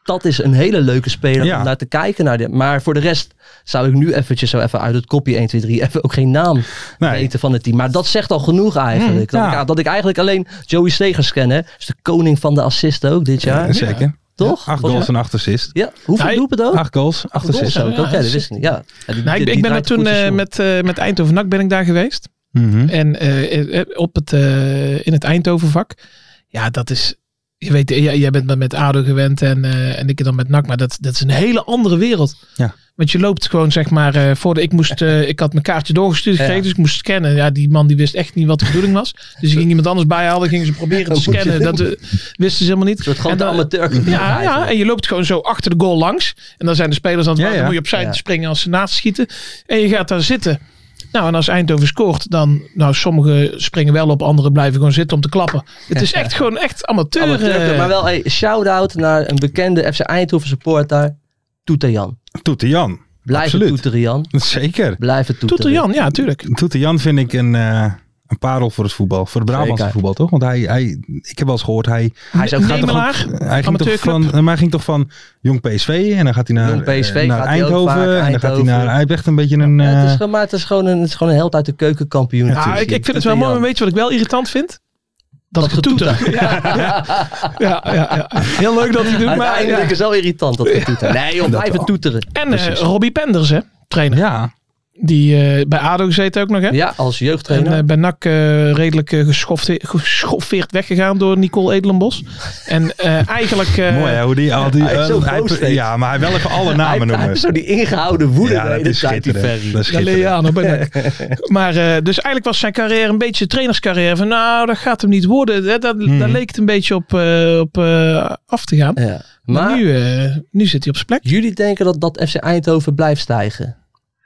S5: dat is een hele leuke speler
S4: Ja.
S5: om naar te kijken. Naar dit. Maar voor de rest zou ik nu eventjes zo even uit het kopje 1, 2, 3 even ook geen naam
S4: Nee.
S5: weten van het team. Maar dat zegt al genoeg eigenlijk.
S4: Hmm,
S5: dat,
S4: ja.
S5: ik, dat ik eigenlijk alleen Joey Slegers ken. Hè? Is de koning van de assist ook dit jaar.
S4: Ja, zeker.
S5: Toch?
S4: Acht goals en acht assists.
S5: Ja, Oh. hoeveel
S6: Hij-
S5: doelpunten ook?
S4: Acht goals, acht
S5: Goals
S4: assists.
S5: ook, oké,
S6: Ja,
S5: dat wist ik niet. Ja. Ja, die-
S6: Nou,
S5: die- die
S6: ik, ik ben er
S5: draait
S6: toen
S5: goed, die
S6: eh,
S5: jongen.
S6: met, eh, met Eindhoven NAC ben ik daar geweest.
S4: Mhm.
S6: En eh, eh, op het, eh, in het Eindhovenvak. Ja, dat is. Je weet, jij, jij bent met- met ADO gewend en, eh, en ik dan met NAC. Maar dat, dat is een hele andere wereld.
S4: Ja.
S6: Want je loopt gewoon, zeg maar, eh, voor de, ik, moest, eh, ik had mijn kaartje doorgestuurd gekregen,
S5: Ja.
S6: dus ik moest scannen. Ja, die man die wist echt niet wat de bedoeling was. Dus ik ging iemand anders bijhalen, gingen ze proberen te
S5: Hoe moet je
S6: scannen.
S5: dit
S6: Dat eh, wisten ze helemaal niet.
S5: Een soort grote
S6: En dan-
S5: amateur.
S6: Ja, ja, en je loopt gewoon zo achter de goal langs. En dan zijn de spelers aan het
S4: Ja,
S6: wachten.
S4: ja.
S6: Dan moet je opzij
S5: Ja.
S6: springen als ze naast schieten. En je gaat daar zitten. Nou, en als Eindhoven scoort, dan... Nou, sommigen springen wel op, anderen blijven gewoon zitten om te klappen. Het is echt gewoon echt amateur.
S5: Amateur,
S6: eh.
S5: maar wel hey, shout-out naar een bekende FC Eindhoven supporter, Toeter Jan.
S4: Toete Jan.
S5: Blijf het
S4: Absoluut.
S5: toeteren Jan.
S4: Zeker.
S5: Blijf het toeteren.
S6: Toeter Jan, ja, tuurlijk.
S4: Toete Jan vind ik een, eh, een parel voor het voetbal. Voor het Brabantse
S5: Zeker.
S4: voetbal, toch? Want hij, hij, ik heb wel eens gehoord, hij,
S5: Hij is ook
S6: Nee,
S5: gaat toch
S6: maar-
S5: ook-
S6: Emelaar,
S4: hij, ging toch
S6: amateurclub.
S4: van, maar hij ging toch van jong PSV en dan gaat hij naar,
S5: Jong PSV
S4: eh, naar
S5: gaat hij ook
S4: Eindhoven,
S5: vaak,
S4: En dan gaat hij
S5: Eindhoven.
S4: naar... Hij heeft echt een beetje een...
S5: Ja, het, is
S4: eh,
S5: gewoon, maar het is gewoon een, het is gewoon een held uit de keukenkampioen.
S6: Ja, ik, ik vind het wel mooi, maar weet je wat ik wel irritant vind? Dat,
S5: Dat
S6: ik toeter. Ja, ja, ja, ja. Heel leuk dat hij doet, maar...
S5: Uiteindelijk
S6: ja.
S5: is het wel irritant dat toeteren. Nee joh, blijf het toeteren.
S6: En eh Robbie Penders, hè, trainer.
S4: ja,
S6: Die eh, bij ADO gezeten ook nog, hè?
S5: Ja, als
S6: En
S5: jeugdtrainer.
S6: eh, bij NAC eh, redelijk eh, geschofte- geschoffeerd weggegaan door Nicole Edelenbos. en eh, eigenlijk... eh,
S4: mooi hè, hoe die... al die
S5: hij is zo
S4: eh, hij-
S5: boos steeds.
S4: ja, maar hij wel even alle
S5: Hij-
S4: namen
S5: hij
S4: noemen.
S5: heeft zo die ingehouden woede
S4: Ja,
S5: de
S4: dat
S5: hele
S4: is
S5: tijd, die Ferry.
S4: schitterend. Dat is
S6: Ja,
S4: schitterend.
S6: Leano bij NAC. maar eh, dus eigenlijk was zijn carrière een beetje trainerscarrière. Van nou, dat gaat hem niet worden. Hè, dat, Daar leek het een beetje op, eh, op eh, af te gaan.
S5: Ja.
S6: Maar,
S5: Maar
S6: nu, eh, nu zit hij op zijn plek.
S5: jullie denken dat, dat FC Eindhoven blijft stijgen?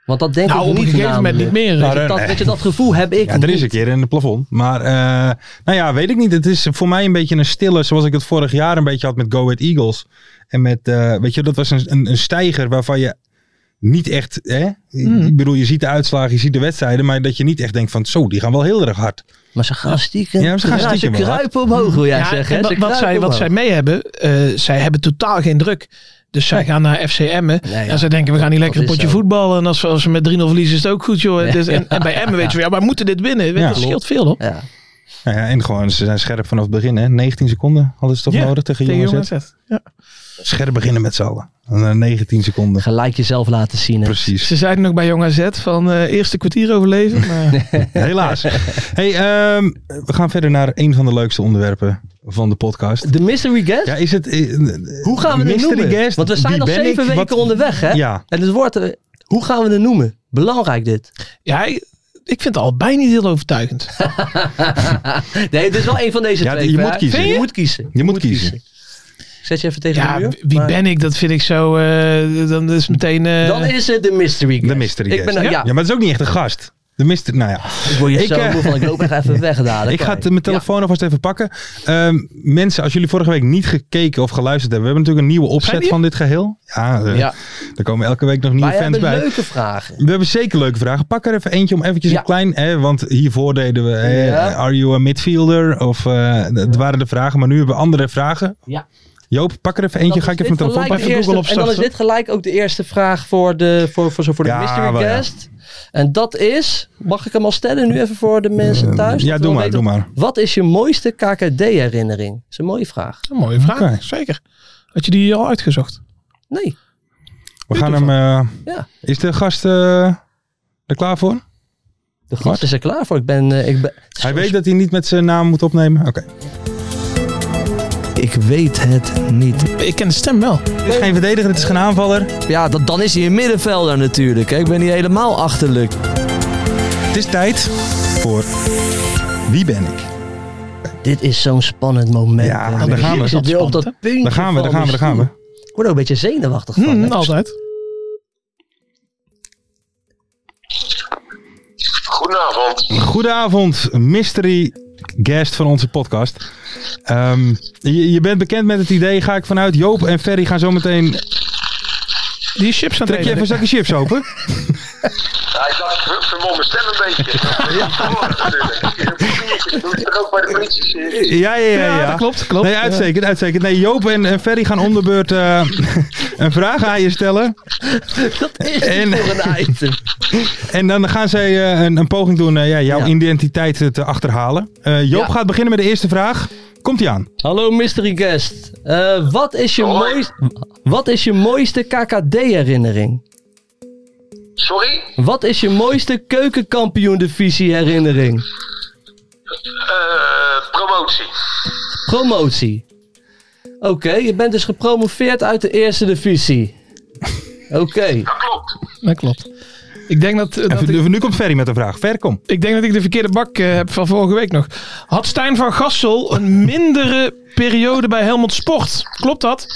S5: Want dat denk
S6: Nou,
S5: ik
S6: op
S5: niet
S6: een gegeven moment
S5: namelijk.
S6: niet meer.
S5: Weet je,
S4: Maar,
S5: dat,
S4: eh,
S5: weet je, dat gevoel heb ik
S4: Ja, er is een
S5: niet.
S4: keer in het plafond. Maar eh, nou ja, weet ik niet. Het is voor mij een beetje een stille, zoals ik het vorig jaar een beetje had met Go Ahead Eagles. En met, eh, weet je, dat was een, een, een stijger waarvan je niet echt, hè? ik bedoel, je ziet de uitslagen, je ziet de wedstrijden, maar dat je niet echt denkt van, zo, die gaan wel heel erg hard.
S5: Maar ze gaan stiekem.
S4: Ja, ze gaan stiekem
S5: Ze
S4: wel, hè?
S5: kruipen omhoog, wil jij
S6: Ja,
S5: zeggen.
S6: en
S5: hè? Dus
S6: wat,
S5: Ze
S6: wat zij,
S5: kruipen
S6: wat zij
S5: omhoog.
S6: mee hebben, eh, zij hebben totaal geen druk. Dus zij gaan naar FC Emmen.
S5: Nee, ja.
S6: En zij denken, we gaan hier lekker een
S5: Dat is
S6: potje
S5: zo.
S6: voetballen. En als we, als we met 3-0 verliezen, is het ook goed, joh.
S5: Nee,
S6: Dus- en,
S5: ja.
S6: en bij Emmen weten we, ja, maar we moeten dit winnen. Weet je,
S4: Ja,
S6: dat scheelt
S4: klopt.
S6: veel, hoor.
S5: Ja.
S4: Nou ja, en gewoon, ze zijn scherp vanaf het begin. Hè? 19 seconden hadden ze toch
S6: Ja,
S4: nodig tegen Jong AZ?
S6: AZ. Ja.
S4: Scherp beginnen met z'n allen. En dan 19 seconden.
S5: Gelijk jezelf laten zien. hè.
S4: Precies.
S6: Ze zeiden nog bij Jong AZ van eh, eerste kwartier overleven. Maar
S4: Helaas. Hey, ehm, we gaan verder naar een van de leukste onderwerpen van de podcast.
S5: De mystery guest?
S4: Ja, is het... eh,
S5: Hoe gaan we het
S4: mystery
S5: noemen?
S4: guest,
S5: Want we zijn
S4: wie
S5: nog
S4: ben
S5: zeven
S4: ik?
S5: weken
S4: Wat-
S5: onderweg, hè?
S4: Ja,
S5: En het wordt, eh, hoe gaan we het noemen? Belangrijk dit.
S6: ja, ik ik vind het al bijna niet heel overtuigend.
S5: Nee, het is wel een van deze
S4: Ja,
S5: twee.
S4: je
S5: maar-
S4: moet kiezen.
S5: Vind Je
S4: Je
S5: moet kiezen.
S4: je moet kiezen.
S5: Ik zet je even tegen
S6: Ja,
S5: de muur.
S6: wie
S5: maar-
S6: ben ik? Dat vind ik zo... eh, dan is meteen... eh,
S5: Dan is het de mystery guest.
S4: De mystery
S5: ik Ben, nou-
S4: guest.
S5: ja, Ah,
S4: Ja, maar het is ook niet echt een gast. De mystery... Nou ja.
S5: ik word je
S4: Ik,
S5: zo
S4: eh,
S5: moe van. Ik loop echt even weg dadelijk.
S4: Ik ga het, eh, mijn telefoon alvast even pakken. Ehm, mensen, als jullie vorige week niet gekeken of geluisterd hebben, we hebben natuurlijk een nieuwe
S6: Zijn
S4: opzet
S6: die-
S4: van dit geheel. Ja, eh,
S5: Ja.
S4: er komen elke week nog nieuwe
S5: Maar je
S4: fans
S5: hebt
S4: bij.
S5: leuke vragen.
S4: We hebben zeker leuke vragen. Pak er even eentje om eventjes
S5: Ja.
S4: een klein... Hè, want hiervoor deden we... hè,
S5: Ja.
S4: Are you a midfielder? Of eh dat waren de vragen. Maar nu hebben we andere vragen.
S5: Ja.
S4: Joop, pak er even eentje.
S5: Dan
S4: Ga ik
S5: is
S4: even mijn
S5: dit
S4: telefoon
S5: gelijk
S4: pakken.
S5: de
S6: Even Google
S5: eerste- En dan is
S6: opstarten.
S5: dit gelijk ook de eerste vraag voor de, voor, voor, zo voor de
S4: Ja,
S5: mystery
S4: wel, ja.
S5: guest. En dat is, mag ik hem al stellen nu even voor de mensen thuis?
S4: Eh, Ja,
S5: Dat
S4: doe
S5: we
S4: maar,
S5: weten-
S4: doe maar.
S5: Wat is je mooiste KKD-herinnering? Dat is een mooie vraag.
S6: Een mooie vraag,
S4: Oké.
S6: zeker. Had je die al uitgezocht?
S5: Nee.
S4: We gaan hem... eh,
S5: Ja.
S4: Is de gast eh, er klaar voor?
S5: De gast is er klaar voor. Ik ben, eh, ik ben
S4: Hij weet dat hij niet met zijn naam moet opnemen. Oké.
S7: Ik weet het niet.
S6: Ik ken de stem wel.
S4: Het is geen verdediger, het is geen aanvaller.
S7: Ja, dat, dan is hij een middenvelder natuurlijk. hè. Ik ben niet helemaal achterlijk.
S4: Het is tijd voor Wie ben ik?
S5: Dit is zo'n spannend moment.
S4: Ja,
S5: hè.
S4: daar
S5: Ik
S4: gaan we.
S5: zit weer op dat puntje
S4: Daar gaan we,
S5: van
S4: daar gaan we, daar gaan
S5: mijn
S4: we.
S5: stoel. Ik word ook een beetje zenuwachtig van.
S6: Hm,
S5: hè.
S6: altijd.
S4: Goedenavond, mystery guest van onze podcast. Ehm, je, je bent bekend met het idee, ga ik vanuit. Joop en Ferry gaan zo meteen...
S6: Die is chips aan het
S4: Trek je even
S6: eten.
S4: een zakje chips open?
S9: Ja, ik dacht, hup, vermom mijn stem een beetje. Ja. Doe je er ook bij de politie?
S4: Ja, ja, ja.
S6: Ja, dat klopt, klopt.
S4: Nee, uitstekend, uitstekend. Nee, Joop en, en Ferry gaan om de beurt eh, een vraag aan je stellen.
S5: Dat is
S4: En-
S5: niet voor een item.
S4: En dan gaan zij eh, een, een poging doen eh, ja, jouw
S5: Ja.
S4: identiteit eh, te achterhalen. Eh, Joop
S5: Ja.
S4: gaat beginnen met de eerste vraag. Komt ie aan?
S5: Hallo mystery guest. Eh, wat, is je
S9: Hoi.
S5: moois- wat is je mooiste KKD-herinnering?
S9: Sorry?
S5: Wat is je mooiste keukenkampioen-divisie-herinnering?
S9: Eh, promotie.
S5: Promotie. Oké, je bent dus gepromoveerd uit de eerste divisie. Oké.
S9: Dat klopt.
S6: Dat klopt. Ik denk dat, eh, dat
S4: En
S6: ik,
S4: nu komt Ferry met een vraag. Ver, kom.
S6: ik denk dat ik de verkeerde bak eh, heb van vorige week nog. Had Stijn van Gassel een mindere periode bij Helmond Sport? Klopt dat?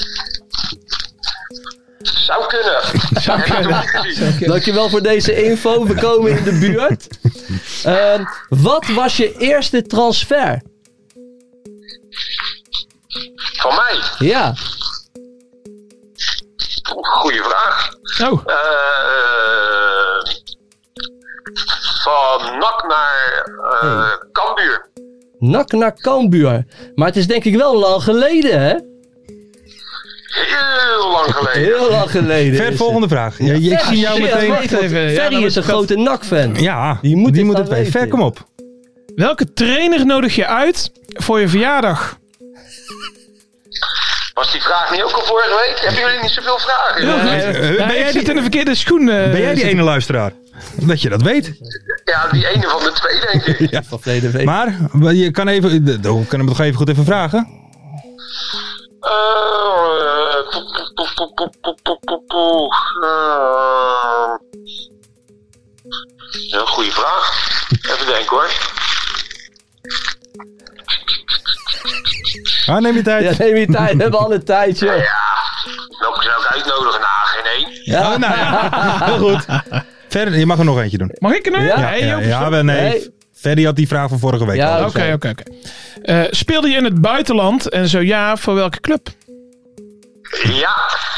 S9: Zou kunnen.
S6: Zou
S9: Heb ik nog
S6: kunnen.
S9: niet gezien.
S5: Dankjewel voor deze info. We komen in de buurt. Ehm, wat was je eerste transfer?
S9: Van mij?
S5: Ja,
S9: Oeh, Goeie vraag.
S6: Oh,
S9: Eh, van NAC naar eh Cambuur.
S5: nak naar Cambuur. Maar het is denk ik wel lang geleden, hè?
S9: Heel lang geleden.
S5: Heel lang geleden. is
S4: Ver,
S5: het.
S4: volgende vraag. Ja, je- ik
S5: Ja,
S4: zie jou
S5: shit,
S4: meteen...
S5: wacht even.
S6: Ja,
S5: Ferry
S6: dan
S5: is een
S6: moet ik
S5: grote NAC-fan.
S4: Ja,
S5: Die moet dit
S4: het
S5: gaan
S4: weten. Ver,
S5: weten.
S4: kom op.
S6: welke trainer nodig je uit voor je verjaardag?
S9: Was die vraag niet ook al vorige week? Hebben jullie niet zoveel vragen?
S4: eh, ben
S6: ben
S4: jij
S6: jij
S4: die-
S6: nou, zit in de verkeerde schoen. eh,
S4: Ben jij die
S6: zit-
S4: ene luisteraar? Dat je dat weet.
S9: Ja, die ene van de twee, denk ik.
S5: Van verleden week.
S4: Maar je kan even... We kunnen hem toch even goed even vragen?
S9: Eh, eh, poep, poep, poep, poep, poep, poep, poep, poep. Eh, ja, goede vraag. Even denken hoor.
S4: Ah, neem je tijd.
S5: Ja, neem je tijd. We hebben al een tijdje.
S9: Welke zou ik uitnodigen? Nou, geen één.
S4: Ja. nou ja, heel goed. Ver, je mag er nog eentje doen.
S6: Mag ik er nu?
S5: Ja.
S6: Hey,
S4: ja,
S6: Joop,
S4: ja, wel, nee.
S5: Nee.
S4: Ferry had die vraag van vorige week
S5: Ja,
S4: al.
S5: dat
S6: Oké, oké, oké. Eh, Speelde je in het buitenland en zo ja, voor welke club?
S9: Ja,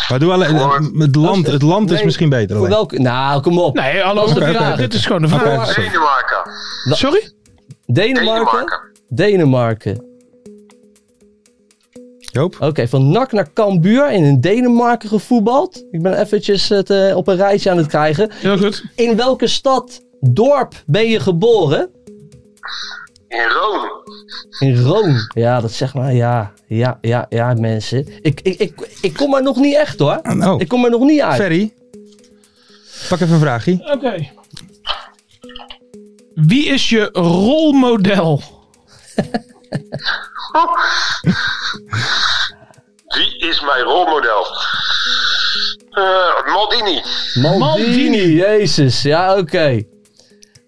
S4: Maar doe alleen, het land, het land is
S5: Nee,
S4: misschien beter.
S5: Voor
S4: alleen.
S5: welke? Nou, kom op.
S6: Nee, hallo,
S5: Dat is de
S6: dit-
S5: vraag.
S6: dit is gewoon de Nou, vraag.
S4: Oké, sorry.
S9: Denemarken.
S6: Sorry?
S5: Denemarken.
S9: Denemarken.
S5: Denemarken. Oké, van NAC naar Cambuur en in Denemarken gevoetbald. Ik ben eventjes het eh, op een rijtje aan het krijgen.
S6: Heel goed.
S5: In welke stad, dorp ben je geboren?
S9: In Rome.
S5: In Rome. Ja, dat zeg maar. Ja, ja, ja, ja, mensen. Ik, ik, ik, ik kom er nog niet echt hoor.
S9: Ah, nou.
S5: Ik kom er nog niet uit.
S4: Ferry, pak even een vraagje.
S6: Oké. Wie is je rolmodel?
S9: Wie is mijn rolmodel? Eh, Maldini.
S5: Maldini,
S9: Maldini.
S5: jezus. Ja, oké.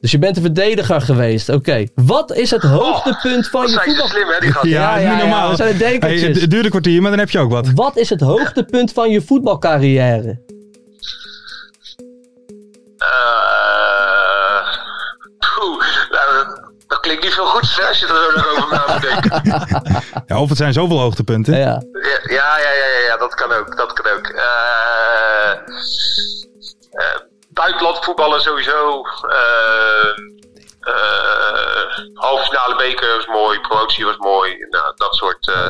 S5: Dus je bent een verdediger geweest. Oké. Wat is het hoogtepunt van je
S9: Oh, zijn ze
S5: voetbal?
S9: slim, hè, die gasten.
S5: ja, ja, ja, dat zijn de
S4: Hey,
S5: dekertjes.
S4: het duurde een kwartier, maar dan heb je ook wat.
S5: Wat is het hoogtepunt van je voetbalcarrière?
S9: Eh, poeh, nou, dat, dat klinkt niet veel goed hè, als je er zo lang over na moet denken.
S4: Ja, of het zijn zoveel hoogtepunten.
S5: Ja.
S9: Ja, ja, ja, ja, ja, dat kan ook. Dat kan ook. Eh, eh, buitenland voetballen sowieso. Eh, eh, halve finale beker was mooi. Promotie was mooi. Nou, dat soort, eh,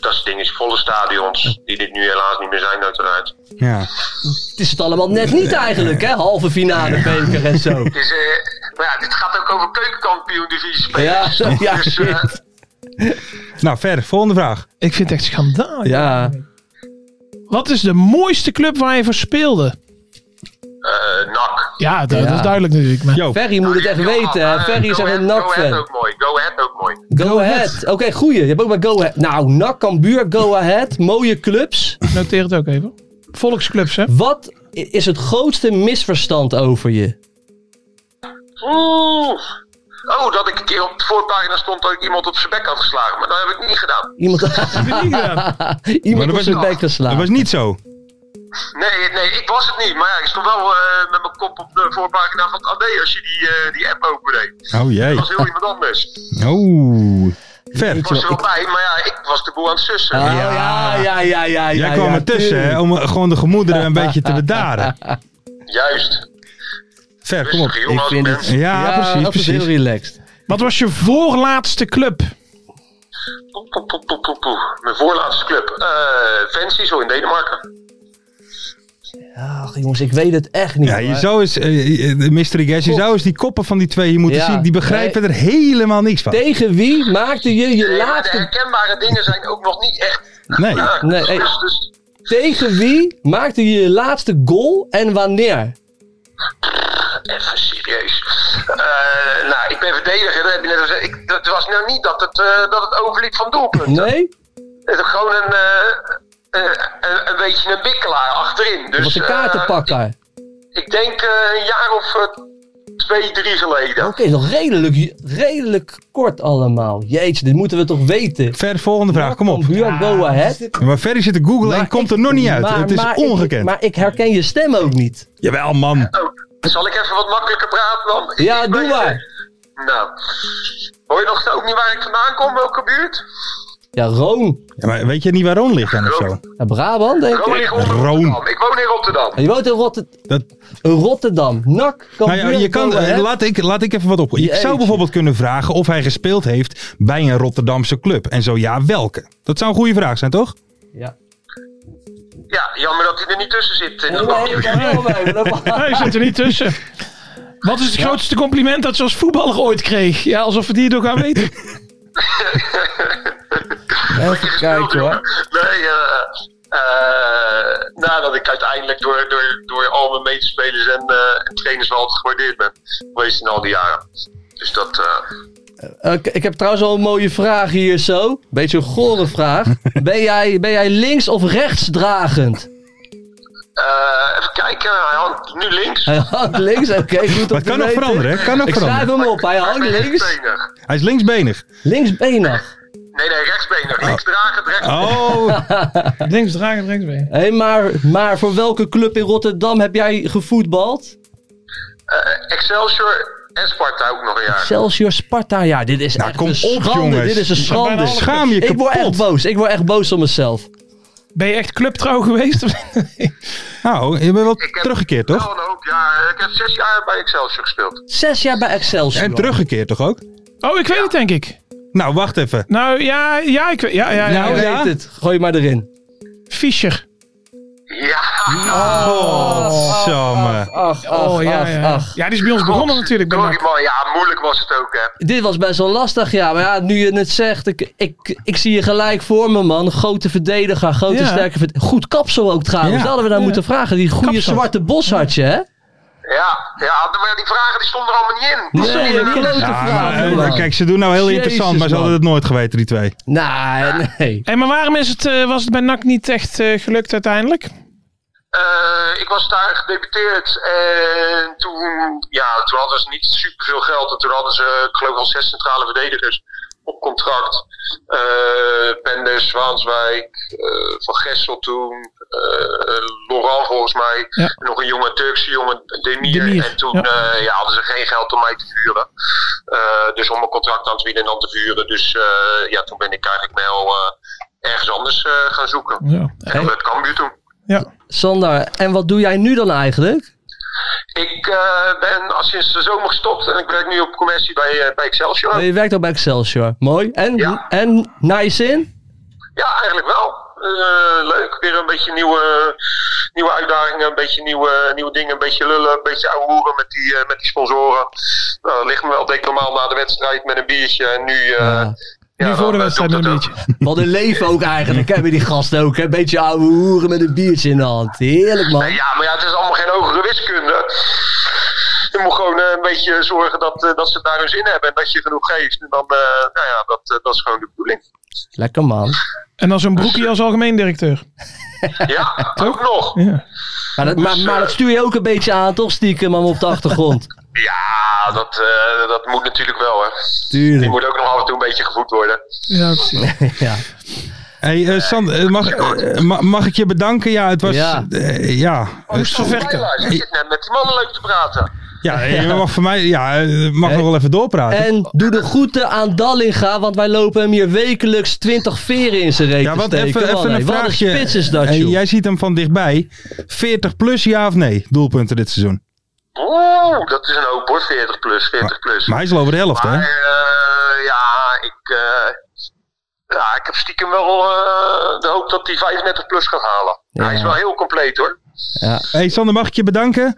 S9: dat soort dingen. Volle stadions. Die dit nu helaas niet meer zijn, uiteraard.
S4: Ja.
S5: Het is het allemaal net niet eigenlijk, hè? Halve finale, beker en zo.
S9: Dus, eh, maar ja, dit gaat ook over keukenkampioen divisie spelers.
S5: Ja, ja,
S9: dus, eh,
S4: Nou, verder, volgende vraag.
S6: Ik vind het echt schandaal.
S5: Ja.
S6: Wat is de mooiste club waar je voor speelde?
S9: eh, NAC.
S6: Ja, dat,
S5: Ja.
S6: dat is duidelijk natuurlijk. Maar...
S4: Joop,
S5: Ferry moet het echt weten, hè?
S9: Eh,
S5: Ferry is
S9: go
S5: echt een
S9: ahead, Go ahead
S5: NAC-fan.
S9: ook mooi. Go ahead ook mooi.
S5: Go ahead. Oké, goeie. Je hebt ook maar go ahead. Nou, NAC, Cambuur, go ahead. Mooie clubs.
S6: Noteer het ook even. Volksclubs, hè?
S5: Wat i- is het grootste misverstand over je?
S9: Oeh. Oh, dat ik een keer op de voorpagina stond dat ik iemand op zijn bek had geslagen. Maar dat heb ik niet gedaan.
S5: Iemand,
S4: Maar
S5: iemand
S4: dat
S5: op
S4: was
S5: zijn
S4: een-
S5: bek
S4: dat was
S5: geslagen.
S4: niet zo.
S9: Nee, nee, ik was het niet. Maar ja, ik stond wel eh, met mijn kop op de voorpagina van het AD als je die, eh, die app opendeed.
S4: Oh
S9: Dat
S4: jee.
S9: was heel iemand anders.
S4: Oh. Ver,
S9: Ik was er wel bij, maar ja, ik was de boel aan het sussen.
S5: Oh, ja, ja, ja, ja.
S4: jij
S5: ja,
S4: kwam
S5: ja,
S4: ertussen hè,
S5: tuurlijk.
S4: om eh, gewoon de gemoederen een beetje te bedaren.
S9: Juist. Dus
S4: Ver, kom op.
S9: Rustig,
S5: Ik
S9: jongen,
S5: vind
S9: als
S5: het...
S9: mens.
S4: Ja, precies,
S5: dat is
S4: precies.
S5: heel relaxed.
S6: Wat was je voorlaatste club?
S9: Poe, poe, poe, poe, poe, poe. Mijn voorlaatste club. Eh Fancy, zo in Denemarken.
S5: Ach, jongens, ik weet het echt niet.
S4: Ja, je
S5: hoor.
S4: zou eens, eh, eh, Mystery Guest, je
S5: Klopt.
S4: zou eens die koppen van die twee hier moeten
S5: Ja,
S4: zien. Die begrijpen er helemaal niks van.
S5: Tegen wie maakte je je
S9: Nee, maar de
S5: laatste...
S9: herkenbare dingen zijn ook nog niet echt.
S4: Nee.
S9: Ja,
S5: Nee, hey.
S9: dus, dus,
S5: Tegen wie maakte je je laatste goal en wanneer?
S9: Even serieus. Eh, nou, ik ben verdediger, dat heb je net al gezegd. Ik, het was nou niet dat het, eh, dat het overliep van doelpunten.
S5: Nee?
S9: Het is gewoon een, eh, eh, een, een beetje een bikkelaar achterin. Dus,
S5: Dat was een
S9: eh,
S5: kaartenpakker.
S9: ik denk eh, een jaar of eh, twee, drie geleden.
S5: Oké, nog redelijk, redelijk kort allemaal. Jeetje, dit moeten we toch weten.
S4: Ver, volgende vraag, kom op.
S5: Cambuur, go ahead.
S4: Maar Ferry zit te googlen en
S5: dus Maar
S4: komt
S5: ik-
S4: er nog niet uit.
S5: maar-
S4: het is
S5: maar ik-
S4: ongekend.
S5: maar ik herken je stem ook niet.
S4: Jawel, man.
S9: Oh, zal ik even wat makkelijker praten dan? Ik
S5: Ja,
S9: ben-
S5: doe maar.
S9: Nou, hoor je nog ook niet waar ik vandaan kom? Welke buurt?
S5: Ja, Roon.
S4: Ja, maar weet je niet waar Ron ligt dan of zo?
S5: Ja, Brabant, denk
S9: Roon
S5: ik.
S9: ligt onder
S4: Roon.
S9: Rotterdam. Ik woon in Rotterdam.
S5: Ja, Je woont in Rotterdam.
S4: Dat,
S5: Rotterdam. Nak,
S4: nou
S5: Cambuur,
S4: ja, je kan,
S5: go ahead.
S4: eh, laat, ik, laat ik even wat op. Je
S5: Jeetje.
S4: zou bijvoorbeeld kunnen vragen of hij gespeeld heeft bij een Rotterdamse club. En zo ja, welke? Dat zou een goede vraag zijn, toch?
S5: Ja.
S9: Ja, jammer dat hij er niet tussen zit. In
S5: Nee,
S9: dat
S5: nee,
S9: bakje.
S5: daar komen we. Dat-
S6: Nee, zit er niet tussen. Wat is het grootste compliment dat ze als voetballer ooit kreeg? Ja, alsof we die nog gaan weten.
S5: Even kijken hoor.
S9: Nee, eh eh, nadat ik uiteindelijk door, door, door al mijn medespelers en, eh, en trainers wel altijd gewaardeerd ben geweest in al die jaren. Dus dat. eh,
S5: Eh, ik- ik heb trouwens al een mooie vraag hier zo. Beetje een gore vraag. Ben jij, ben jij links of rechts dragend?
S9: eh, even kijken, hij hangt nu links.
S5: Hij hangt links, oké. goed om
S4: Maar het
S5: te
S4: kan nog
S5: weten.
S4: veranderen, hè? Kan nog
S5: Ik schrijf
S4: veranderen.
S5: hem op, hij hangt
S9: Maar ik ben
S5: links.
S9: rechtsbenig.
S4: Hij is linksbenig.
S5: Linksbenig.
S9: Nee, nee, rechtsbenig. Linksdragend, rechts.
S4: Oh,
S6: Links dragen, rechts mee.
S5: Hé, maar, maar voor welke club in Rotterdam heb jij gevoetbald?
S9: Eh, Excelsior en Sparta ook nog een jaar.
S5: Excelsior Sparta. Ja, dit is
S4: Nou,
S5: echt
S4: kom
S5: een
S4: op,
S5: schande.
S4: jongens.
S5: Dit is een
S4: We zijn
S5: schande.
S4: bijna Schaam je
S5: Ik word echt
S4: kapot.
S5: boos. Ik word echt boos op mezelf.
S6: Ben je echt clubtrouw geweest?
S4: nou, je bent wel
S9: Ik heb
S4: teruggekeerd, toch?
S9: Wel een hoop jaar. Ik heb zes jaar bij Excelsior gespeeld.
S5: Zes jaar bij Excelsior.
S4: En teruggekeerd, toch ook?
S6: Oh, ik weet het denk ik.
S4: Nou, wacht even.
S6: Nou ja, ja, ik weet- ja, ja, ja,
S5: Nou,
S6: ja.
S5: weet het. Gooi maar erin.
S6: Fischer.
S4: Oh,
S5: Ach, ach,
S6: Oh ja,
S5: ach,
S6: ja.
S5: ach.
S6: ja, die is bij ons begonnen natuurlijk. Bij
S9: Sorry
S6: NAC.
S9: man, ja, moeilijk was het ook hè.
S5: Dit was best wel lastig, ja. Maar ja, nu je het zegt, ik, ik, ik zie je gelijk voor me, man. Grote verdediger, grote
S6: Ja.
S5: sterke verdediger. Goed kapsel ook trouwens.
S4: Ja.
S5: Dat hadden we daar moeten vragen. Die goede
S6: Kapsel.
S5: zwarte boshartje, hè?
S9: Ja, ja, maar die vragen die stonden er allemaal niet in.
S5: Nee,
S9: Sorry,
S5: die
S9: man.
S5: klote
S4: Ja,
S5: vraag.
S4: maar, eh,
S5: man.
S4: kijk, ze doen nou heel
S5: Jezus,
S4: interessant, maar ze
S5: man.
S4: hadden het nooit geweten, die twee.
S5: Nee, Nou, nee.
S6: Hey, maar waarom is het, eh, was het bij NAC niet echt eh, gelukt uiteindelijk?
S9: Eh, ik was daar gedeputeerd en toen, ja, toen hadden ze niet superveel geld. En toen hadden ze, ik geloof wel zes centrale verdedigers op contract. Eh Penders, Waanswijk, eh, Van Gessel toen, eh eh, Laurent volgens mij.
S6: Ja.
S9: Nog een jonge Turkse jongen, Demir.
S6: Demir,
S9: en toen
S6: ja.
S9: eh, ja, hadden ze geen geld om mij te vuren. Eh, dus om een contract aan te bieden en dan te vuren. Dus eh, ja, toen ben ik eigenlijk wel eh, ergens anders eh, gaan zoeken.
S6: Ja.
S9: En dat werd Cambuur toen.
S5: Sander, en wat doe jij nu dan eigenlijk?
S9: Ik eh, ben al sinds de zomer gestopt en ik werk nu op commercie bij, eh, bij Excelsior.
S5: Je werkt al bij Excelsior. Mooi. En,
S9: Ja.
S5: en naar je zin?
S9: Ja, eigenlijk wel. Eh, leuk, weer een beetje nieuwe, nieuwe uitdagingen, een beetje nieuwe, nieuwe dingen, een beetje lullen, een beetje ouwe hoeren met die, eh, met die sponsoren. Nou, dat ligt me wel denk ik normaal na de wedstrijd met een biertje en nu... eh,
S5: Ja.
S9: ja,
S6: nu voor de
S9: dan, eh,
S6: wedstrijd
S9: doe
S6: een
S9: ik dat
S6: beetje.
S5: Wat een leven ook eigenlijk. Hebben die gasten ook. Een beetje ouwe hoeren met een biertje in de hand. Heerlijk,
S9: ook.
S5: man.
S9: Ja, maar ja, het is allemaal geen hogere wiskunde. Je moet gewoon eh, een beetje zorgen dat, eh, dat ze daar hun zin hebben en dat je genoeg geeft. En dan, eh, nou ja, dat, eh, dat is gewoon de bedoeling.
S5: Lekker, man.
S6: En dan zo'n broekje als algemeen directeur.
S9: Ja, ook nog.
S6: Ja.
S5: Maar dat, maar, maar dat stuur je ook een beetje aan, toch stiekem, man, op de achtergrond.
S9: Ja, dat, eh, dat moet natuurlijk wel, hè. Die
S5: Tuurlijk.
S9: moet ook nog af en toe een beetje gevoed worden.
S6: Ja, precies.
S5: Ja.
S4: Hey, eh, San, eh, mag, eh, ma- mag ik je bedanken? Ja, het was...
S5: Ja.
S4: eh, ja.
S6: Oost van Verken.
S9: Helaas, ik zit net met die mannen leuk te praten.
S4: Ja, eh, je mag voor mij... Ja, eh, mag nog wel even doorpraten.
S5: En doe de groeten aan Dallinga, want wij lopen hem hier wekelijks 20 veren in zijn reet
S4: ja,
S5: te
S4: want
S5: steken.
S4: even,
S5: man,
S4: even
S5: hé.
S4: een vraagje.
S5: Wat een spits is dat,
S4: Eh,
S5: joh.
S4: jij ziet hem van dichtbij. 40 plus, ja of nee? Doelpunten dit seizoen.
S9: Oeh, dat is een hoop hoor, 40 plus, 40 plus.
S4: Maar hij is al over de helft, hè?
S9: Maar, eh, ja, ik, eh, ja, ik heb stiekem wel eh, de hoop dat hij 35 plus gaat halen. Hij is wel heel compleet hoor.
S4: Hey Sander, mag ik je bedanken?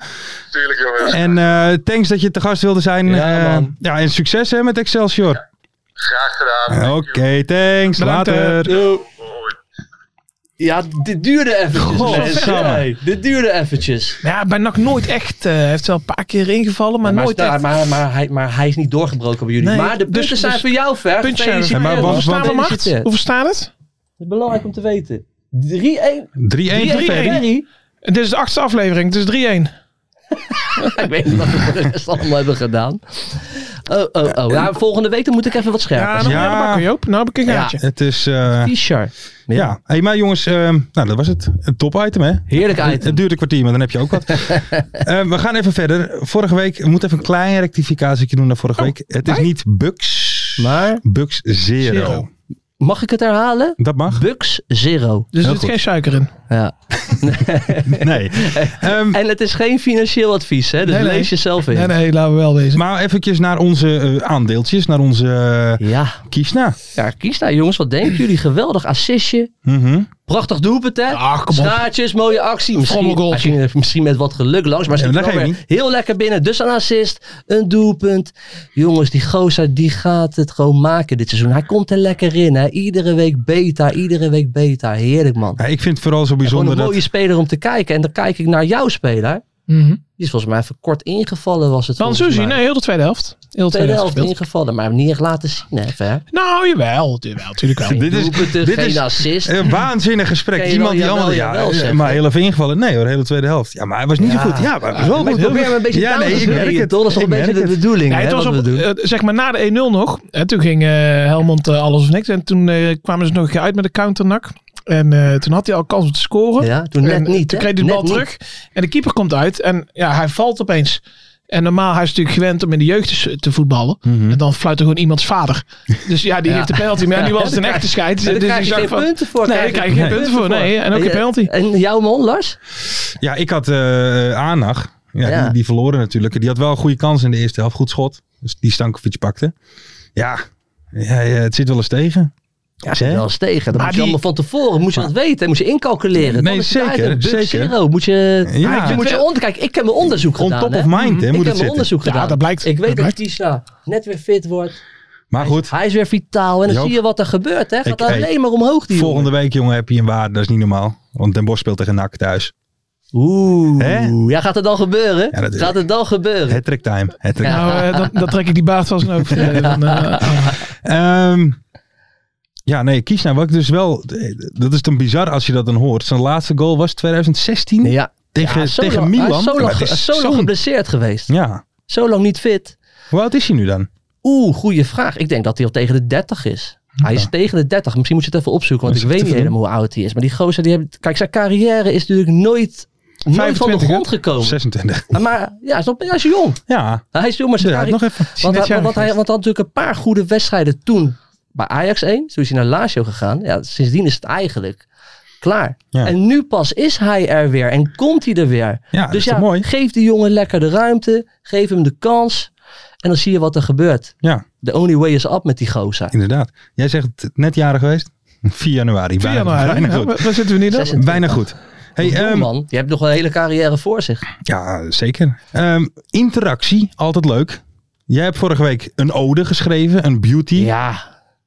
S9: Tuurlijk jongens.
S4: En eh, thanks dat je te gast wilde zijn.
S5: Ja,
S4: Eh,
S5: man.
S4: ja en succes hè, met Excelsior.
S9: Graag gedaan.
S4: Oké,
S9: Dank jullie.
S4: thanks.
S6: Bedankt,
S4: Later.
S5: Yo.
S9: Hoi.
S5: Ja, dit duurde eventjes.
S4: God,
S5: mensen.
S4: samen.
S5: Hey, dit duurde eventjes.
S6: Ja, bij NAC nooit echt. eh, Hij heeft wel een paar keer ingevallen, maar,
S5: Maar,
S6: nooit
S5: maar,
S6: echt.
S5: maar, maar hij, maar hij is niet doorgebroken bij jullie.
S6: Nee,
S5: maar de
S6: dus-
S5: punten zijn
S6: dus-
S5: voor jou ver.
S6: Puntje.
S5: Gefeliciteerd,
S4: Ja, maar
S5: man.
S6: Hoeveel
S4: want-
S6: staan we, Mart?
S5: Gefeliciteerd.
S6: Hoeveel staat het?
S5: Het is belangrijk om te weten. 3-1.
S4: 3-1 voor
S5: 3-1
S4: Ferry.
S5: Ferry.
S6: En dit is de achtste aflevering, het is 3-1.
S5: Ik weet niet wat we voor de rest allemaal hebben gedaan. Oh, oh, oh. Ja, volgende week dan moet ik even wat
S6: Ja,
S5: scherper
S6: nog
S5: zijn.
S6: ja. naar de bakken, Joop. Nou heb ik een
S5: Ja.
S6: gaatje.
S4: Het is... eh,
S5: T-shirt.
S4: ja, Hey, maar jongens, ehm, nou dat was het. Een top item hè?
S5: Heerlijk item.
S4: Het duurt een kwartier, maar dan heb je ook wat. Eh, we gaan even verder. Vorige week, we moeten even een klein rectificatie doen naar vorige week. Het is niet Bugs,
S5: Maar
S4: Bugs Zero.
S6: Zero.
S5: mag ik het herhalen?
S4: Dat mag?
S5: Bucks Zero.
S6: Dus
S4: Heel
S6: er zit
S4: goed.
S6: geen suiker in.
S5: Ja.
S4: Nee. Ehm,
S5: En het is geen financieel advies, hè? Dus
S6: Nee, nee.
S5: lees jezelf in.
S6: Nee, nee, laten we wel wezen.
S4: maar eventjes naar onze eh, aandeeltjes, naar onze eh,
S5: Ja.
S4: Kiesna.
S5: ja, kies nou jongens. Wat denken jullie? Geweldig assistje.
S4: Mhm.
S5: Prachtig doelpunt, hè?
S6: Ah, kom op.
S5: Schaartjes, mooie actie. Misschien,
S6: Schommelgoal.
S5: hij ging er misschien met wat geluk langs, maar ze
S4: Ja, dat
S5: ging wel
S4: geeft
S5: weer heel lekker binnen. Dus een assist, een doelpunt. Jongens, die gozer die gaat het gewoon maken dit seizoen. Hij komt er lekker in, hè? Iedere week beter, iedere week beter. Heerlijk, man.
S4: Ja, ik vind het vooral zo
S5: Gewoon
S4: bijzonder
S5: een mooie
S4: dat...
S5: speler om te kijken. En dan kijk ik naar jouw speler.
S6: Mhm.
S5: Die is volgens mij even kort ingevallen, was het
S6: Dan
S5: volgens
S6: Suzy,
S5: mij.
S6: nee, heel de tweede helft. Heel de tweede,
S5: tweede helft
S6: helft gespeeld.
S5: ingevallen, maar niet echt laten zien. Hè, ver.
S6: Nou, jawel. Jawel, natuurlijk wel.
S4: Dit is,
S5: Doelpunten,
S4: dit
S5: eh, geen
S4: is
S5: assist.
S4: een waanzinnig gesprek.
S5: Oké,
S4: Iemand
S5: jawel,
S4: die
S5: jawel,
S4: allemaal...
S5: jawel,
S4: Ja,
S5: zeg.
S4: maar heel even ingevallen. Nee hoor, de hele tweede helft. Ja, maar hij was niet zo goed. Ja, maar hij was wel
S5: Maar
S4: goed.
S5: ik probeer hem een beetje
S4: Ja,
S5: down
S4: nee,
S5: te
S4: ik
S5: spelen,
S4: merk het.
S5: toch? Dat is toch
S4: Ik
S5: een beetje
S4: merk
S5: de
S4: het.
S5: bedoeling,
S6: Ja,
S5: hè,
S6: het was
S5: wat
S6: op,
S5: we doen.
S6: eh, zeg maar na de 1-0 nog. Hè, toen ging eh, Helmond eh, alles of niks. En toen eh, kwamen ze nog uit met de counternak. En eh, toen had hij al kans om te scoren.
S5: Ja, toen net
S6: En eh,
S5: niet,
S6: Toen
S5: hè?
S6: kreeg hij de
S5: Net
S6: bal
S5: niet.
S6: terug. En de keeper komt uit. En ja, hij valt opeens. En normaal hij is natuurlijk gewend om in de jeugd te, te voetballen. En dan fluit er gewoon iemands vader. Dus ja, die
S5: Mhm. Ja.
S6: heeft de penalty. Maar ja, nu was het een echte scheid.
S5: Daar
S6: Dus
S5: krijg
S6: die
S5: je
S6: zag
S5: geen
S6: van-
S5: punten voor.
S6: Nee, daar krijg je geen punten voor. Nee, en ook geen penalty.
S5: En jouw man, Lars?
S4: Ja, ik had eh Anag. Ja,
S5: Ja.
S4: Die, die verloren natuurlijk. Die had wel een goede kans in de eerste helft. Goed schot. Dus die Stankovic pakte. Ja, Ja, ja, het zit wel eens tegen.
S5: Ja, zit wel eens tegen. Dat
S4: Maar
S5: moet je
S4: die-
S5: allemaal van tevoren moet je dat weten. Moet je incalculeren.
S4: Nee,
S5: Dan is het
S4: zeker,
S5: item. Bug
S4: zeker.
S5: zero. Moet je,
S4: Ja.
S5: ja, moet je onder, kijk, ik heb mijn onderzoek
S4: On
S5: gedaan.
S4: top
S5: hè. Mhm.
S4: of mind, hè, moet het
S5: Ik heb
S4: zitten.
S5: mijn onderzoek
S4: Ja,
S5: gedaan.
S4: dat blijkt,
S5: Ik
S4: dat
S5: weet dat
S4: blijkt.
S5: Tisa net weer fit wordt.
S4: Maar goed.
S5: Hij is weer vitaal. En dan
S4: Joop.
S5: zie je wat er gebeurt. Hè. Gaat
S4: Ik-
S5: alleen
S4: hey,
S5: maar omhoog die
S4: Volgende week, jongen, heb je een waarde. Dat is niet normaal. Want Den Bosch speelt tegen NAC thuis.
S5: Oeh. Ja, gaat het dan gebeuren? gaat het dan gebeuren?
S4: Hattrick time. Hattrick
S6: Nou,
S4: time.
S6: eh, dan, dan trek ik die baas van zijn hoofd. eh, dan, eh,
S4: Ehm, ja, nee, kies nou. Wat ik dus wel... Dat is dan bizar als je dat dan hoort. Zijn laatste goal was 2016.
S5: Ja.
S4: Tegen,
S5: Ja, zo
S4: tegen
S5: lang-
S4: Milan.
S5: Hij is zo
S4: Maar
S5: lang,
S4: het is
S5: zo lang
S4: zo'n-
S5: geblesseerd geweest.
S4: Ja.
S5: Zo lang niet fit.
S4: Hoe oud is hij nu dan?
S5: Oeh, goede vraag. Ik denk dat hij al tegen de 30 is. Hij is tegen de 30. Misschien moet je het even opzoeken, want
S4: Is
S5: ik
S4: het
S5: weet
S4: te
S5: niet
S4: doen?
S5: helemaal hoe oud hij is. Maar die gozer, die heeft, kijk, zijn carrière is natuurlijk nooit, nooit van de
S4: 25,
S5: grond
S4: hè?
S5: gekomen.
S4: 26.
S5: Maar ja, hij is, nog, hij is jong.
S4: Ja.
S5: Hij is jong, maar zijn
S4: Ja,
S5: carrière-
S4: nog even. Is hij
S5: Want,
S4: net
S5: hij,
S4: jarig
S5: want, hij, want hij had natuurlijk een paar goede wedstrijden toen bij Ajax 1. Toen is hij naar Lazio gegaan. Ja, sindsdien is het eigenlijk klaar.
S4: Ja.
S5: En nu pas is hij er weer en komt hij er weer.
S4: Ja, dat
S5: dus
S4: is
S5: ja,
S4: toch mooi?
S5: geef die jongen lekker de ruimte. Geef hem de kans. En dan zie je wat er gebeurt.
S4: Ja.
S5: The only way is up met die gozer.
S4: Inderdaad. Jij zegt net jaren geweest? 4 januari.
S6: 4
S4: bijna,
S6: januari.
S4: bijna
S6: Ja,
S4: goed.
S6: waar- waar zitten we nu dan?
S5: 26.
S4: Bijna goed. Hey,
S5: Jong
S4: ehm,
S5: man, je hebt nog een hele carrière voor zich.
S4: ja, zeker. Ehm, interactie, altijd leuk. Jij hebt vorige week een ode geschreven, een beauty.
S5: Ja,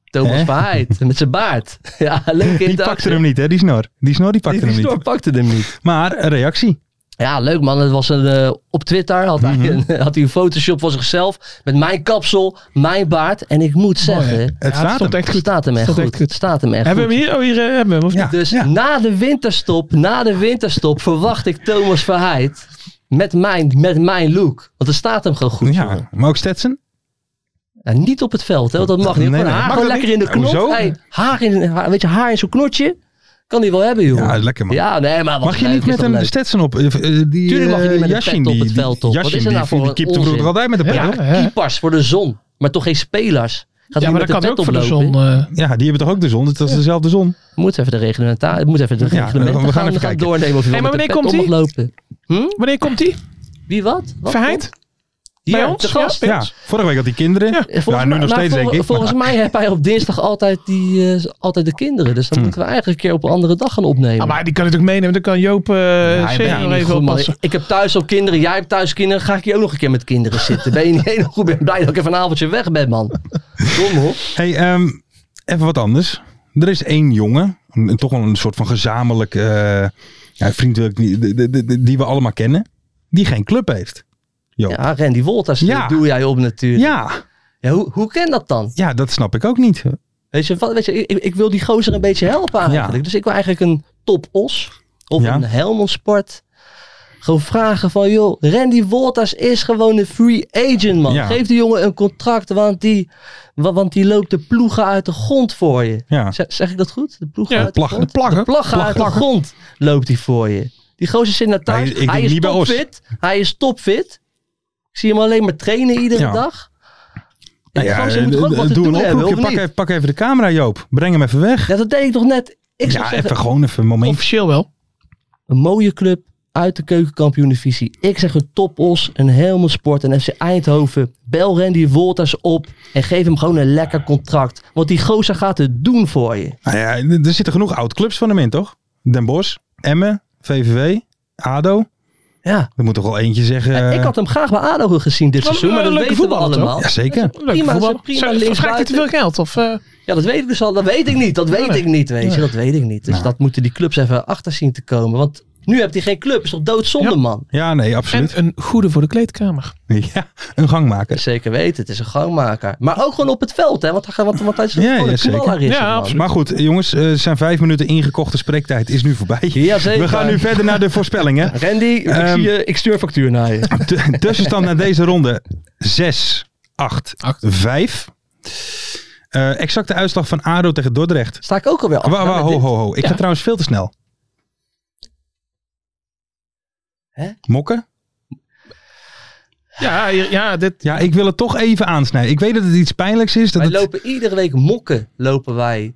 S5: Thomas
S4: Hè?
S5: Verheid met zijn baard. Ja, leuk
S4: die pakte hem niet, hè, die snor. Die snor die pakte
S5: Die,
S4: hem
S5: die
S4: niet.
S5: snor pakte hem niet.
S4: Maar een reactie.
S5: Ja, leuk man. Het was een, eh, op Twitter had,
S4: Mhm.
S5: hij een, had hij een Photoshop van zichzelf. Met mijn kapsel, mijn baard. En ik moet zeggen,
S4: Het
S6: ja, het
S4: staat
S6: stond
S4: hem.
S6: echt goed.
S5: staat hem echt
S6: Stond
S5: goed.
S6: echt goed.
S5: Staat hem echt
S6: Hebben we
S5: goed.
S6: hem hier? Oh, hier eh, hebben we hem. Of
S4: Ja.
S6: niet?
S5: Dus na de winterstop, na de winterstop verwacht ik Thomas Verheid met mijn, met mijn look. Want er staat hem gewoon goed. jongen.
S4: Ja, maar ook Stetson.
S5: Ja, niet op het veld, hè, want dat mag niet.
S4: Nee,
S5: Gewoon
S4: nee.
S5: haar
S4: Mag
S5: gewoon
S4: dat
S5: lekker in de
S4: niet?
S5: knot.
S4: Hoezo?
S5: Hey, haar in, haar, weet je, haar in zo'n knotje. Kan die wel hebben, joh.
S4: Ja, lekker, man.
S5: Ja, nee, maar wat
S4: Mag je
S5: leuk
S4: niet
S5: is
S4: met
S5: dat
S4: een
S5: leuk.
S4: Stetson op? eh, eh, die,
S5: Tuurlijk mag je niet met
S4: eh,
S5: een
S4: Yashin,
S5: pet op
S4: die-
S5: het veld, toch? Wat
S4: Yashin,
S5: is er nou
S4: die,
S5: voor
S4: die
S5: een
S4: kipte vroeger
S5: onzin?
S4: altijd met een pet,
S6: Ja.
S4: hoor.
S6: hè?
S5: Keepers voor de zon, maar toch geen spelers. Gaat
S6: Ja,
S5: hij
S6: maar
S5: met
S6: dat kan
S5: de pet
S6: ook voor de
S5: oplopen?
S6: zon. eh,
S4: Ja, die hebben toch ook de zon? Het is dezelfde zon.
S5: Moet even de reglementatie, moet even de
S4: Ja,
S5: reglementen
S4: we gaan
S5: gaan,
S4: even
S5: gaan
S4: kijken.
S5: doornemen of je
S6: Hey,
S5: wel
S6: maar
S5: met de
S6: wanneer
S5: pet
S6: komt
S5: op mag lopen.
S6: Wanneer komt die?
S5: Wie wat? wat
S6: Verheid?
S5: Hier,
S6: Bij ons?
S5: de gast.
S6: Ja, bij
S4: Ja,
S6: ons.
S4: vorige week had die kinderen. Ja,
S5: Volgens
S4: nu
S5: mij-
S4: nog
S5: maar
S4: steeds,
S5: vol-
S4: denk ik.
S5: Volgens mij heb hij op dinsdag altijd, die, eh, altijd de kinderen. Dus dan
S4: Hm.
S5: moeten we eigenlijk een keer op een andere dag gaan opnemen.
S6: Ah, maar die kan het ook meenemen. Dan kan Joop eh
S5: Ja,
S6: senior
S5: ben je niet
S6: even
S5: goed, man.
S6: oppassen.
S5: Ik heb thuis al kinderen, jij hebt thuis kinderen. Ga ik hier ook nog een keer met kinderen zitten? Ben je niet helemaal goed? Ik ben blij dat ik even een avondje weg ben, man. Kom hoor.
S4: Hey, ehm, even wat anders. Er is één jongen, een- toch wel een soort van gezamenlijk eh, ja, vriend wil ik niet- de- de- de- die we allemaal kennen, die geen club heeft. Joop. Ja.
S5: Ja, Randy Wolters,
S4: Ja.
S5: doe jij op natuurlijk.
S4: Ja,
S5: Ja, hoe, hoe kan dat dan?
S4: dat snap ik ook niet.
S5: Weet je, wat, weet je ik, ik wil die gozer een beetje helpen eigenlijk.
S4: Ja.
S5: Dus ik wil eigenlijk een top os of
S4: Ja.
S5: een Helmond Sport. Gewoon vragen van, joh, Randy Wolters is gewoon een free agent, man.
S4: Ja.
S5: Geef die jongen een contract, want die, wa- want die loopt de ploegen uit de grond voor je.
S4: Ja.
S5: Zeg, zeg ik dat goed? De ploegen
S6: Ja,
S5: uit de
S4: plag-
S5: grond?
S4: de plaggen.
S5: plaggen
S4: Plag-
S5: uit
S4: plaggen.
S5: de grond loopt hij voor je. Die gozer zit naar thuis.
S4: Hij- ik
S5: hij
S4: denk
S5: is
S4: niet bij ons.
S5: topfit. Hij is topfit. Ik zie hem alleen maar trainen iedere
S4: Ja.
S5: dag.
S4: Nou
S5: Die
S4: ja,
S5: gozer moet toch ook
S4: eh,
S5: wat te
S4: doe
S5: doen
S4: een
S5: hebben,
S4: oproepje.
S5: of
S4: Pak
S5: niet?
S4: even, pak even de camera, Joop. Breng hem even weg.
S5: Ja, dat deed ik nog net. Ik zou
S4: ja,
S5: zeggen,
S4: even gewoon even een moment.
S6: Officieel wel.
S5: een mooie club uit de keukenkampioen-divisie. Ik zeg een topos, een Helmond Sport en FC Eindhoven. Bel Randy Wolters op en geef hem gewoon een lekker contract. Want die gozer gaat het doen voor je.
S4: Nou ja, er- er zitten genoeg oud-clubs van hem in, toch? Den Bosch, Emmen, VVV, ADO.
S5: Ja.
S4: Er moet toch wel eentje zeggen...
S5: Ja, ik had hem graag bij ADO gezien dit
S6: Maar-
S5: seizoen, maar dat
S6: maar een leuke
S5: weten we
S6: voetballer, toch?
S5: allemaal.
S4: Jazeker.
S6: Leuk
S5: Prima,
S6: voetbal.
S5: prima
S6: Zo-
S5: linksbuiten.
S6: Vraagt hij te veel geld? Of, eh,
S5: Ja, dat weet ik dus al. Dat weet ik niet. Dat weet
S6: Nee.
S5: ik niet, weet je.
S6: Nee.
S5: Dat weet ik niet. Dus
S4: Nee.
S5: dat moeten die clubs even achter zien te komen. Want nu hebt hij geen club. Is toch doodzonde,
S6: Ja.
S5: man?
S4: Ja, nee, absoluut.
S6: en een goede voor de kleedkamer.
S4: Ja, een gangmaker.
S5: Zeker weten. Het is een gangmaker. Maar ook gewoon op het veld, hè. Want hij, gaat- want, want hij is
S4: Ja,
S5: gewoon
S4: ja,
S5: een
S4: zeker.
S5: knaller. Is
S6: Ja,
S5: het, man.
S6: absoluut.
S4: Maar goed, jongens, eh, zijn vijf minuten ingekochte spreektijd is nu voorbij.
S5: Jazeker.
S4: We gaan nu verder naar de voorspellingen.
S5: Randy, ik,
S4: Ehm,
S5: zie je, ik stuur factuur naar je.
S4: T- Tussenstand naar deze ronde 6, 8, 5. Eh, exacte uitslag van ADO tegen Dordrecht.
S5: Sta ik ook alweer af.
S4: Wa- wa- ho, ho, ho. Ik ga
S5: Nou, Ja.
S4: trouwens veel te snel.
S5: Hè?
S4: Mokken?
S6: Ja, hier- ja dit,
S4: Ja, ik wil het toch even aansnijden. Ik weet dat het iets pijnlijks is. Dat
S5: Wij
S4: het,
S5: lopen iedere week mokken lopen wij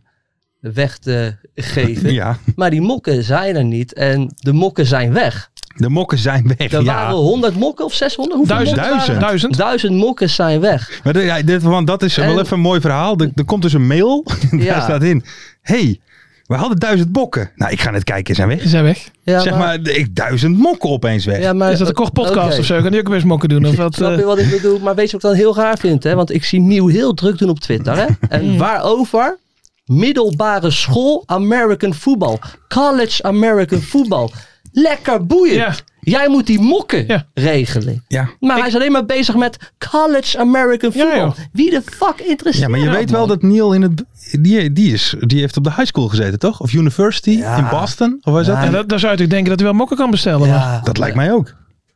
S5: weg te geven.
S4: Ja,
S5: Maar die mokken zijn er niet en de mokken zijn weg.
S4: De mokken zijn weg.
S5: Er
S4: ja.
S5: waren 100 mokken of 600? Hoeveel
S4: Duizend.
S5: mokken waren er?
S4: Duizend.
S5: Duizend mokken zijn weg.
S4: Maar de- ja, dit, want dat is wel
S5: En-
S4: even een mooi verhaal. Er, er komt dus een mail. Daar
S5: Ja.
S4: staat in. hey, we hadden duizend bokken. Nou, ik ga net kijken. Zijn weg.
S6: Zijn weg.
S5: Ja,
S4: zeg maar, ik, duizend mokken opeens weg.
S5: Ja, maar-
S6: Is dat een kort podcast
S5: Oké.
S6: of zo? Kan die ook best mokken doen? Of wat,
S5: Snap je
S6: eh,
S5: wat ik bedoel? Maar weet je wat ik dan heel raar vind? Hè? Want ik zie Nieuw heel druk doen op Twitter. Hè? En waarover? Middelbare school American football. College American football. Lekker boeiend.
S6: Ja.
S5: Jij moet die mokken
S6: Ja.
S5: regelen.
S4: Ja.
S5: Maar hij is alleen maar bezig met College American
S6: Ja,
S5: football. Wie de fuck interesseert
S4: Ja, maar je
S5: dat,
S4: weet
S5: man?
S4: wel dat Neil in het. Die, die, is, die heeft op de high school gezeten, toch? Of university in Boston? Of waar is dat?
S6: ja, dat, dan zou ik denken dat hij wel mokken kan bestellen. maar-
S5: Ja.
S4: Dat lijkt mij ook.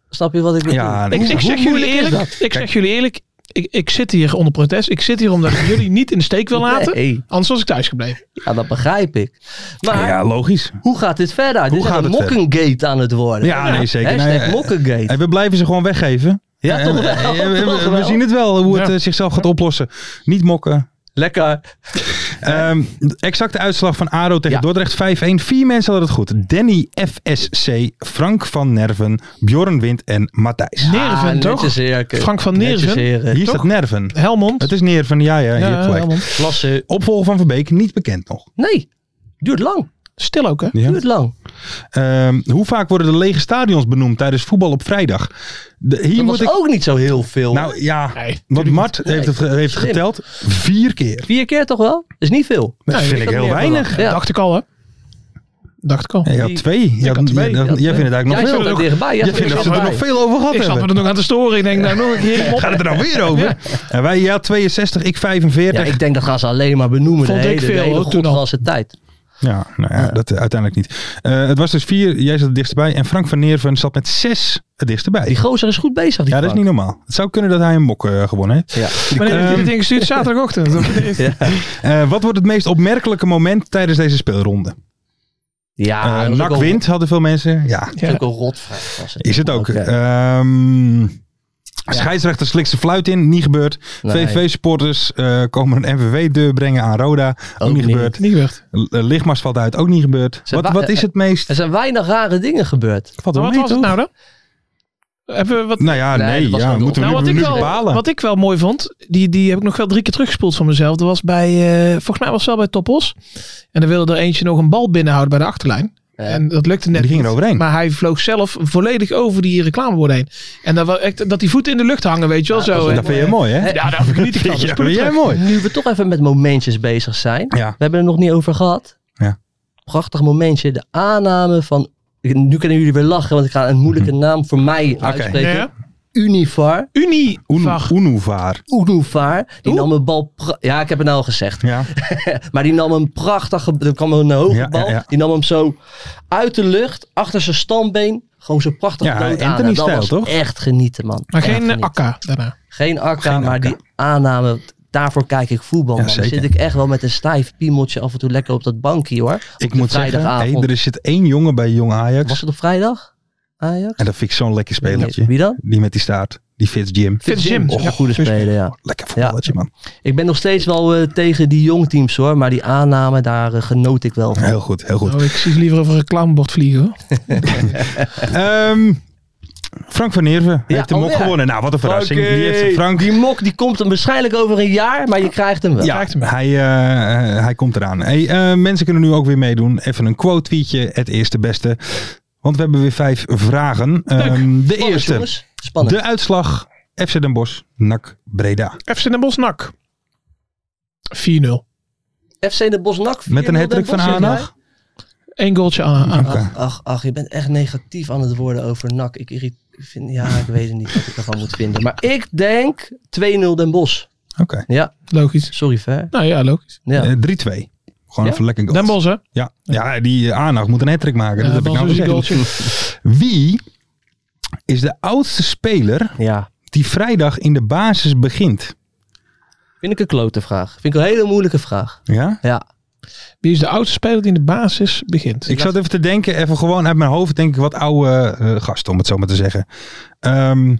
S5: Snap je wat ik bedoel?
S4: Ja,
S6: Ik, ik zeg jullie eerlijk, ik zeg jullie eerlijk ik, ik zit hier onder protest. Ik zit hier omdat ik jullie niet in de steek wil laten.
S5: Nee.
S6: Anders was ik thuis gebleven.
S5: Ja, dat begrijp ik. Maar
S4: Ja, logisch.
S5: hoe gaat dit verder? dit is
S4: gaat
S5: een
S4: het verder?
S5: mokkengate aan het worden.
S4: Ja, nee, zeker.
S5: Hashtag
S4: Nee, eh,
S5: mokkengate.
S4: Hey, we blijven ze gewoon weggeven.
S5: Ja, toch wel,
S4: en- en- en-
S5: toch
S4: we,
S5: wel.
S4: zien het wel hoe het
S6: Ja.
S4: eh, zichzelf gaat oplossen. Niet mokken.
S5: Lekker.
S4: Ehm, de exacte uitslag van ADO tegen
S5: Ja.
S4: Dordrecht 5-1. Vier mensen hadden het goed. Danny FSC, Frank van Nerven, Bjorn Wind en Matthijs.
S6: Nerven,
S5: Ah,
S6: toch?
S5: netjes, Erke.
S6: Frank van
S5: Netjes,
S6: Nerven.
S5: heren.
S4: Hier staat Nerven.
S6: Helmond.
S4: Het is Nerven, ja, ja, je
S6: Ja,
S4: hebt gelijk.
S6: Helmond.
S5: Klasse.
S4: Opvolger van Verbeek, niet bekend nog.
S5: Nee, duurt lang.
S6: Stil ook, hè?
S4: Ja.
S5: Duurt lang.
S4: Ehm, hoe vaak worden de lege stadions benoemd tijdens voetbal op vrijdag? De- hier
S5: Dat
S4: moet
S5: was
S4: ik.
S5: ook niet zo heel veel.
S4: Nou ja,
S6: Nee,
S4: want
S6: natuurlijk
S4: Mart heeft het ge- heeft
S5: Slim.
S4: geteld vier keer.
S5: Vier keer toch wel? Is niet veel.
S4: Dat vind ik
S5: had
S4: heel
S5: meer
S4: weinig.
S5: verwacht. Ja.
S6: Dacht ik al, hè? Dacht ik al.
S4: Ja, je had twee. Je
S6: had
S4: had-
S6: twee.
S4: je- Jij vindt het eigenlijk nog
S5: Jij
S4: veel.
S5: zat er dichtbij. Jij
S4: Jij
S5: zat er
S4: vindt dat we er nog
S5: dichtbij.
S4: veel over gehad
S6: Ik zat me
S4: hebben.
S6: er nog aan te storen. Ik denk, nou, nog een keer.
S4: Gaat het er nou weer over? En wij, ja, 62, ik
S5: Ja,
S4: 45. Ja,
S5: ik denk dat gaan ze alleen maar benoemen.
S6: Vond
S5: de
S6: ik
S5: hele,
S6: veel,
S5: de hele
S6: hoor, toen al.
S5: godganse tijd.
S4: nou ja, dat eh, uiteindelijk niet. Eh, het was dus vier, jij zat het dichtst bij. En Frank van Neerven zat met zes het dichtst bij.
S5: Die gozer is goed bezig. Die
S4: Ja, dat is niet normaal. Het zou kunnen dat hij een mok eh, gewonnen heeft.
S5: Ja.
S6: Wanneer heb je dit
S4: Ehm,
S6: ding gestuurd? Zaterdagochtend.
S4: Eh, wat wordt het meest opmerkelijke moment tijdens deze speelronde?
S5: Ja,
S4: Eh
S5: Ah, dat is
S4: Nak
S5: ook een-
S4: wint, hadden veel mensen. Ja,
S5: dat is ook een rotvraag. was
S4: is het ook. eh,
S5: Oké.
S4: Ehm, scheidsrechter slikt zijn fluit in, niet gebeurd.
S5: Nee.
S4: VVV-supporters eh, komen een MVV-deur brengen aan Roda, ook,
S5: Ook
S4: niet
S5: niet.
S4: gebeurd.
S6: Niet gebeurd.
S4: L- eh, Lichtmars valt uit, ook niet gebeurd.
S5: Ze eh,
S4: Wat,
S5: wa-
S4: wat is het meest...
S5: Er zijn weinig rare dingen gebeurd.
S4: Wat,
S6: Maar Wat was het nou dan? Hebben we wat...
S4: Nou ja,
S5: Nee,
S4: nee,
S5: dat was
S4: ja,
S5: gewoon
S4: moeten we
S6: Nou,
S4: nu,
S6: wat,
S4: nu
S6: ik wel,
S4: bepalen.
S6: wat ik wel mooi vond, die, die heb ik nog wel drie keer teruggespeeld van mezelf. Dat was bij, eh, volgens mij was het wel bij Topos. En dan wilde er eentje nog een bal binnenhouden bij de achterlijn. En dat lukte net
S4: Die ging er
S6: niet.
S4: overheen.
S6: Maar hij vloog zelf volledig over die reclameborden heen. En dat, wel echt, dat die voeten in de lucht hangen, weet je wel. zo,
S4: dat vind je mooi,
S5: eh,
S4: hè?
S6: Ja, daar geniet ik van. Dat is
S4: Ja,
S6: goed
S4: vind jij
S6: terug.
S4: mooi?
S5: Nu we toch even met momentjes bezig zijn.
S4: Ja.
S5: We hebben het nog niet over gehad.
S4: Ja.
S5: Prachtig momentje. De aanname van... Ik- Nu kunnen jullie weer lachen, want ik ga een moeilijke
S4: Mhm.
S5: naam voor mij uitspreken.
S6: Ja.
S5: Univar.
S6: Unie.
S4: Oenu-
S6: Vag.
S4: Oenuvaar.
S5: Unuvar. Die
S6: Oeh.
S5: nam een bal... pra- Ja, ik heb het nou al gezegd.
S4: Ja.
S5: Maar die nam een prachtige... Er kwam een hoge
S4: Ja,
S5: bal.
S4: ja, ja.
S5: Die nam hem zo uit de lucht, achter zijn stambeen. Gewoon zo prachtig
S4: Ja,
S5: dood aan.
S4: Anthony
S5: En dat
S4: stijl,
S5: was
S4: toch?
S5: echt genieten, man.
S6: Maar
S5: Echt
S6: geen eh,
S5: genieten.
S6: akka daarna.
S5: Geen akka,
S4: Geen
S5: maar
S4: akka.
S5: die aanname. Daarvoor kijk ik voetbal.
S4: Ja,
S5: man. Dan
S4: zeker.
S5: zit ik echt wel met een stijf piemeltje af en toe lekker op dat bankje hoor. Op
S4: Ik
S5: de
S4: moet zeggen,
S5: vrijdagavond.
S4: hey, er zit één jongen bij Jong Ajax.
S5: Was het op vrijdag? Ajax?
S4: En dat vind ik zo'n lekker spelertje.
S5: Nee, Wie dan?
S4: Die met die staart. Die Fitz Jim.
S6: Fitz Jim.
S5: Och,
S6: Ja.
S5: een goede speler, ja.
S4: Lekker voetballertje, man.
S5: Ik ben nog steeds wel eh, tegen die jongteams hoor. Maar die aanname, daar eh, genoot ik wel van.
S4: Heel goed, heel goed.
S6: Oh, ik zie ze liever over een reclamebord vliegen hoor.
S4: Ehm, Frank van Nerven
S5: Ja,
S4: heeft hem ook
S5: alweer.
S4: gewonnen. Nou, wat een verrassing. Die heeft hem, Frank.
S5: Die mok die komt hem waarschijnlijk over een jaar, maar je krijgt hem wel.
S4: Ja,
S6: Krijgt hem.
S4: hij, eh, hij komt eraan. Hey, eh, mensen kunnen nu ook weer meedoen. Even een quote tweetje. Het eerste beste. Want we hebben weer vijf vragen. Ehm, de
S5: Spannend,
S4: eerste.
S5: jongens. Spannend.
S4: De uitslag. FC Den Bosch. NAC Breda.
S6: FC Den Bosch nak. 4-0.
S5: FC de Bosnak.
S4: Met een hattrick van Aanag.
S6: Eén goaltje aan. aan.
S5: Ach, ach, ach, je bent echt negatief aan het worden over NAC. Ik, irrit- ik vind, ja, ik weet het niet wat ik ervan moet vinden. Maar ik denk 2-0 Den Bos.
S4: Oké.
S5: Ja,
S6: Logisch.
S5: sorry ver.
S6: Nou ja, logisch.
S5: Ja.
S4: Eh, 3-2. Gewoon
S5: Ja?
S4: even lekker goals.
S6: Den Bosch hè.
S4: Ja, ja die eh, aandacht moet een hattrick maken.
S6: Ja,
S4: dat heb ik
S6: Bas
S4: nou
S6: is een
S4: gezegd. Wie is de oudste speler
S5: ja.
S4: die vrijdag in de basis begint?
S5: Vind ik een klote vraag. Vind ik een hele moeilijke vraag.
S4: Ja?
S5: Ja.
S6: Wie is de oudste speler die in de basis begint?
S4: Ik zat even te denken, even gewoon uit mijn hoofd denk ik wat oude eh, gasten, om het zo maar te zeggen. Ehm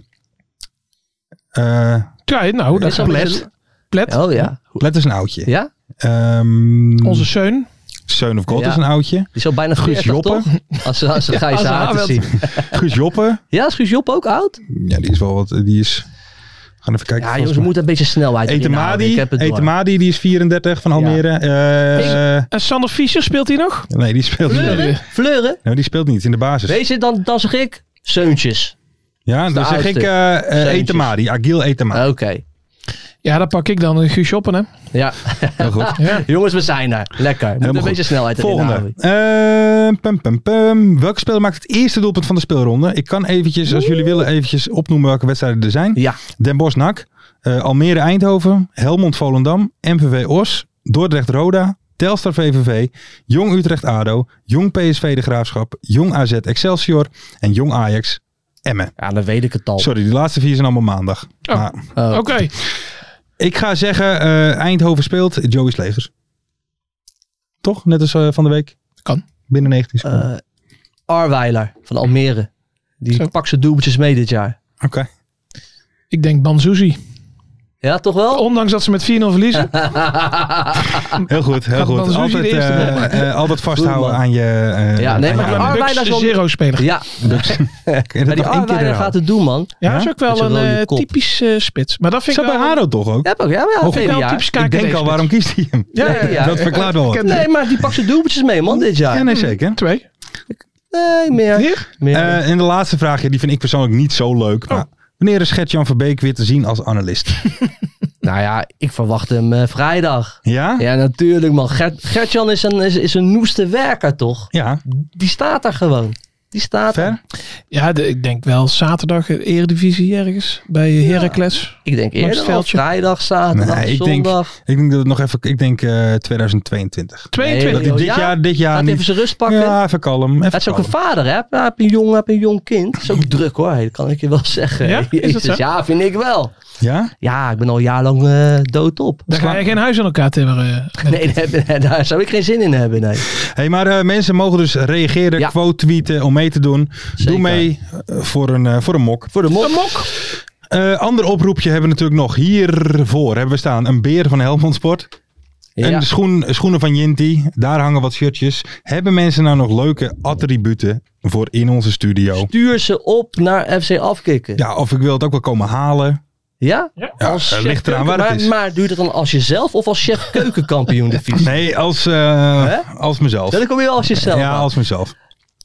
S4: eh,
S6: Ja, nou, dat
S5: Is dat
S6: is Plet.
S5: Oh ja.
S4: Let is een oudje.
S5: Ja?
S4: Ehm,
S6: Onze Seun.
S4: Seun of God
S5: Ja.
S4: is een oudje. Die
S5: is al bijna
S4: Guus
S5: 40,
S4: Joppen.
S5: toch? Als, als we Gijs
S4: Ja,
S5: haar
S4: als
S5: te
S4: we
S5: zien.
S4: Guus Joppen.
S5: Ja, is Guus Joppen ook oud?
S4: Ja, die is wel wat. Die is. We gaan even kijken.
S5: Ja, jongens, we moeten een beetje snelheid erin houden. Ik
S4: Etemadi,
S5: heb het door.
S4: Etemadi, die is 34 van Almere. Eh,
S6: En Sander Fischer speelt hij nog?
S4: nee, die speelt
S5: Fleuren?
S4: niet.
S5: Fleuren?
S4: Nee, Nou, die speelt niet in de basis.
S5: Weet je, dan, dan zeg ik Seuntjes.
S4: ja, dan
S5: de
S4: zeg ik
S5: oudste.
S4: eh eh,
S5: Zeuntjes.
S4: Etemadi, Agil Etemadi.
S5: Oké.
S6: Ja, dan pak ik dan een Guus Joppen, hè?
S5: Ja.
S4: goed.
S6: Ja.
S5: Jongens, we zijn er. Lekker. Moet een
S4: Helemaal
S5: beetje
S4: goed.
S5: snelheid erin
S4: Volgende.
S5: houden.
S4: Eh, pum, pum, pum. Welke speler maakt het eerste doelpunt van de speelronde? Ik kan eventjes, als jullie willen, eventjes opnoemen welke wedstrijden er zijn.
S5: Ja.
S4: Den Bosch NAC, eh, Almere Eindhoven, Helmond Volendam, MVV Os, Dordrecht Roda, Telstar VVV, Jong Utrecht ADO, Jong PSV De Graafschap, Jong AZ Excelsior en Jong Ajax Emmen.
S5: Ja, dan weet ik het al.
S4: Sorry, die laatste vier zijn allemaal maandag. Maar
S5: Oh.
S6: Oké.
S4: ik ga zeggen, eh, Eindhoven speelt Joey Slegers. Toch? Net als eh, van de week.
S6: Kan.
S4: Binnen 19 seconden.
S5: Eh, Arweiler van Almere. Die
S6: Zo.
S5: pakt zijn doeltjes mee dit jaar.
S4: Oké.
S6: Ik denk Banzuzi.
S5: Ja, toch
S4: Oh.
S5: wel?
S6: Ondanks dat ze met 4-0 verliezen.
S4: Heel goed, heel
S6: Gaat
S4: goed.
S6: Mansouri
S4: Altijd,
S6: de eerste
S4: eh,
S6: bal maken?
S4: eh, altijd vasthouden
S5: Goed, man.
S4: aan je... eh,
S5: Ja, nee,
S4: aan je
S5: maar die
S4: aandacht.
S5: Arweiler is wel...
S6: Zero-speler.
S5: Ja,
S4: Kun je
S5: maar
S4: dat
S5: die
S4: nog één keer
S5: Arweiler gaat
S4: herhalen?
S5: het doen, man.
S6: Ja,
S4: Ja?
S6: is ook
S5: Dat
S6: wel
S5: je
S6: een
S5: wel je
S6: eh,
S5: kop.
S6: typisch eh, spits. Maar dat
S4: Is
S6: vind
S4: dat
S6: ik
S4: bij
S6: wel...
S4: Haro toch ook?
S5: Ja, ook. Ja, maar ja,
S6: Vind ik
S5: vele
S6: wel
S5: jaar.
S6: typisch
S4: ik denk al,
S6: KKD-spits.
S4: waarom kiest hij hem?
S6: Ja, ja, ja.
S4: Dat verklaart wel wat.
S6: Ken-
S5: Nee, maar die pakt zijn doeltjes mee, man, dit jaar.
S4: Ja, nee, zeker.
S6: Twee.
S5: Nee, meer.
S6: Hier?
S5: meer.
S4: Eh, en de laatste vraag, ja, die vind ik persoonlijk niet zo leuk. Maar wanneer is Gert-Jan Verbeek weer te zien als analist?
S5: nou ja, ik verwacht hem eh, vrijdag.
S4: Ja?
S5: Ja, natuurlijk, man. Gert- Gertjan is een, is, is een noeste werker, toch?
S4: Ja,
S5: Die staat daar gewoon. Die staat
S4: ver?
S5: er.
S6: Ja, de- ik denk wel zaterdag eh, Eredivisie ergens. Bij eh, Heracles.
S5: Ik denk
S6: Langs het
S5: eerder al
S6: veldje.
S5: vrijdag, zaterdag,
S4: Nee, ik denk-
S5: zondag.
S4: Ik denk dat het nog even... Ik denk eh, 2022. Dat
S6: 22.
S4: hij dit
S5: Ja?
S4: jaar, dit jaar
S5: Gaat
S4: niet...
S5: even zijn rust pakken.
S4: Ja, even kalm. Even
S5: Het is ook
S4: kalm.
S5: een vader, hè? Hij heeft een jong, hij heeft een jong kind. Het is ook druk, hoor. Dat kan ik je wel zeggen.
S6: Ja? Is dat
S5: Jezus,
S6: zo?
S5: ja, vind ik wel.
S4: Ja?
S5: Ja, ik ben al jarenlang eh doodop.
S6: Daar ga je geen huis aan elkaar timmeren. eh.
S5: Nee, daar, daar zou ik geen zin in hebben, nee.
S4: Hey, maar eh, mensen mogen dus reageren,
S5: Ja.
S4: quote tweeten om mee te doen. Doe
S5: Zeker.
S4: mee eh, voor, een, eh, voor een mok.
S5: Voor de mok.
S4: Eh, ander oproepje hebben we natuurlijk nog. Hiervoor hebben we staan een beer van Helmond Sport. En
S5: Ja.
S4: de schoen, schoenen van Jinti. Daar hangen wat shirtjes. Hebben mensen nou nog leuke attributen voor in onze studio?
S5: Stuur ze op naar FC Afkikken.
S4: Ja, of ik wil het ook wel komen halen.
S5: Ja?
S4: eh,
S5: chef
S4: ligt eraan
S5: keuken-
S4: waar het
S5: maar,
S4: is.
S5: Maar duurt het dan als jezelf of als chef keukenkampioen de fiets?
S4: Nee, als, eh,
S5: Hè?
S4: als mezelf.
S5: Dan kom je wel als jezelf.
S4: Ja,
S5: aan.
S4: als mezelf.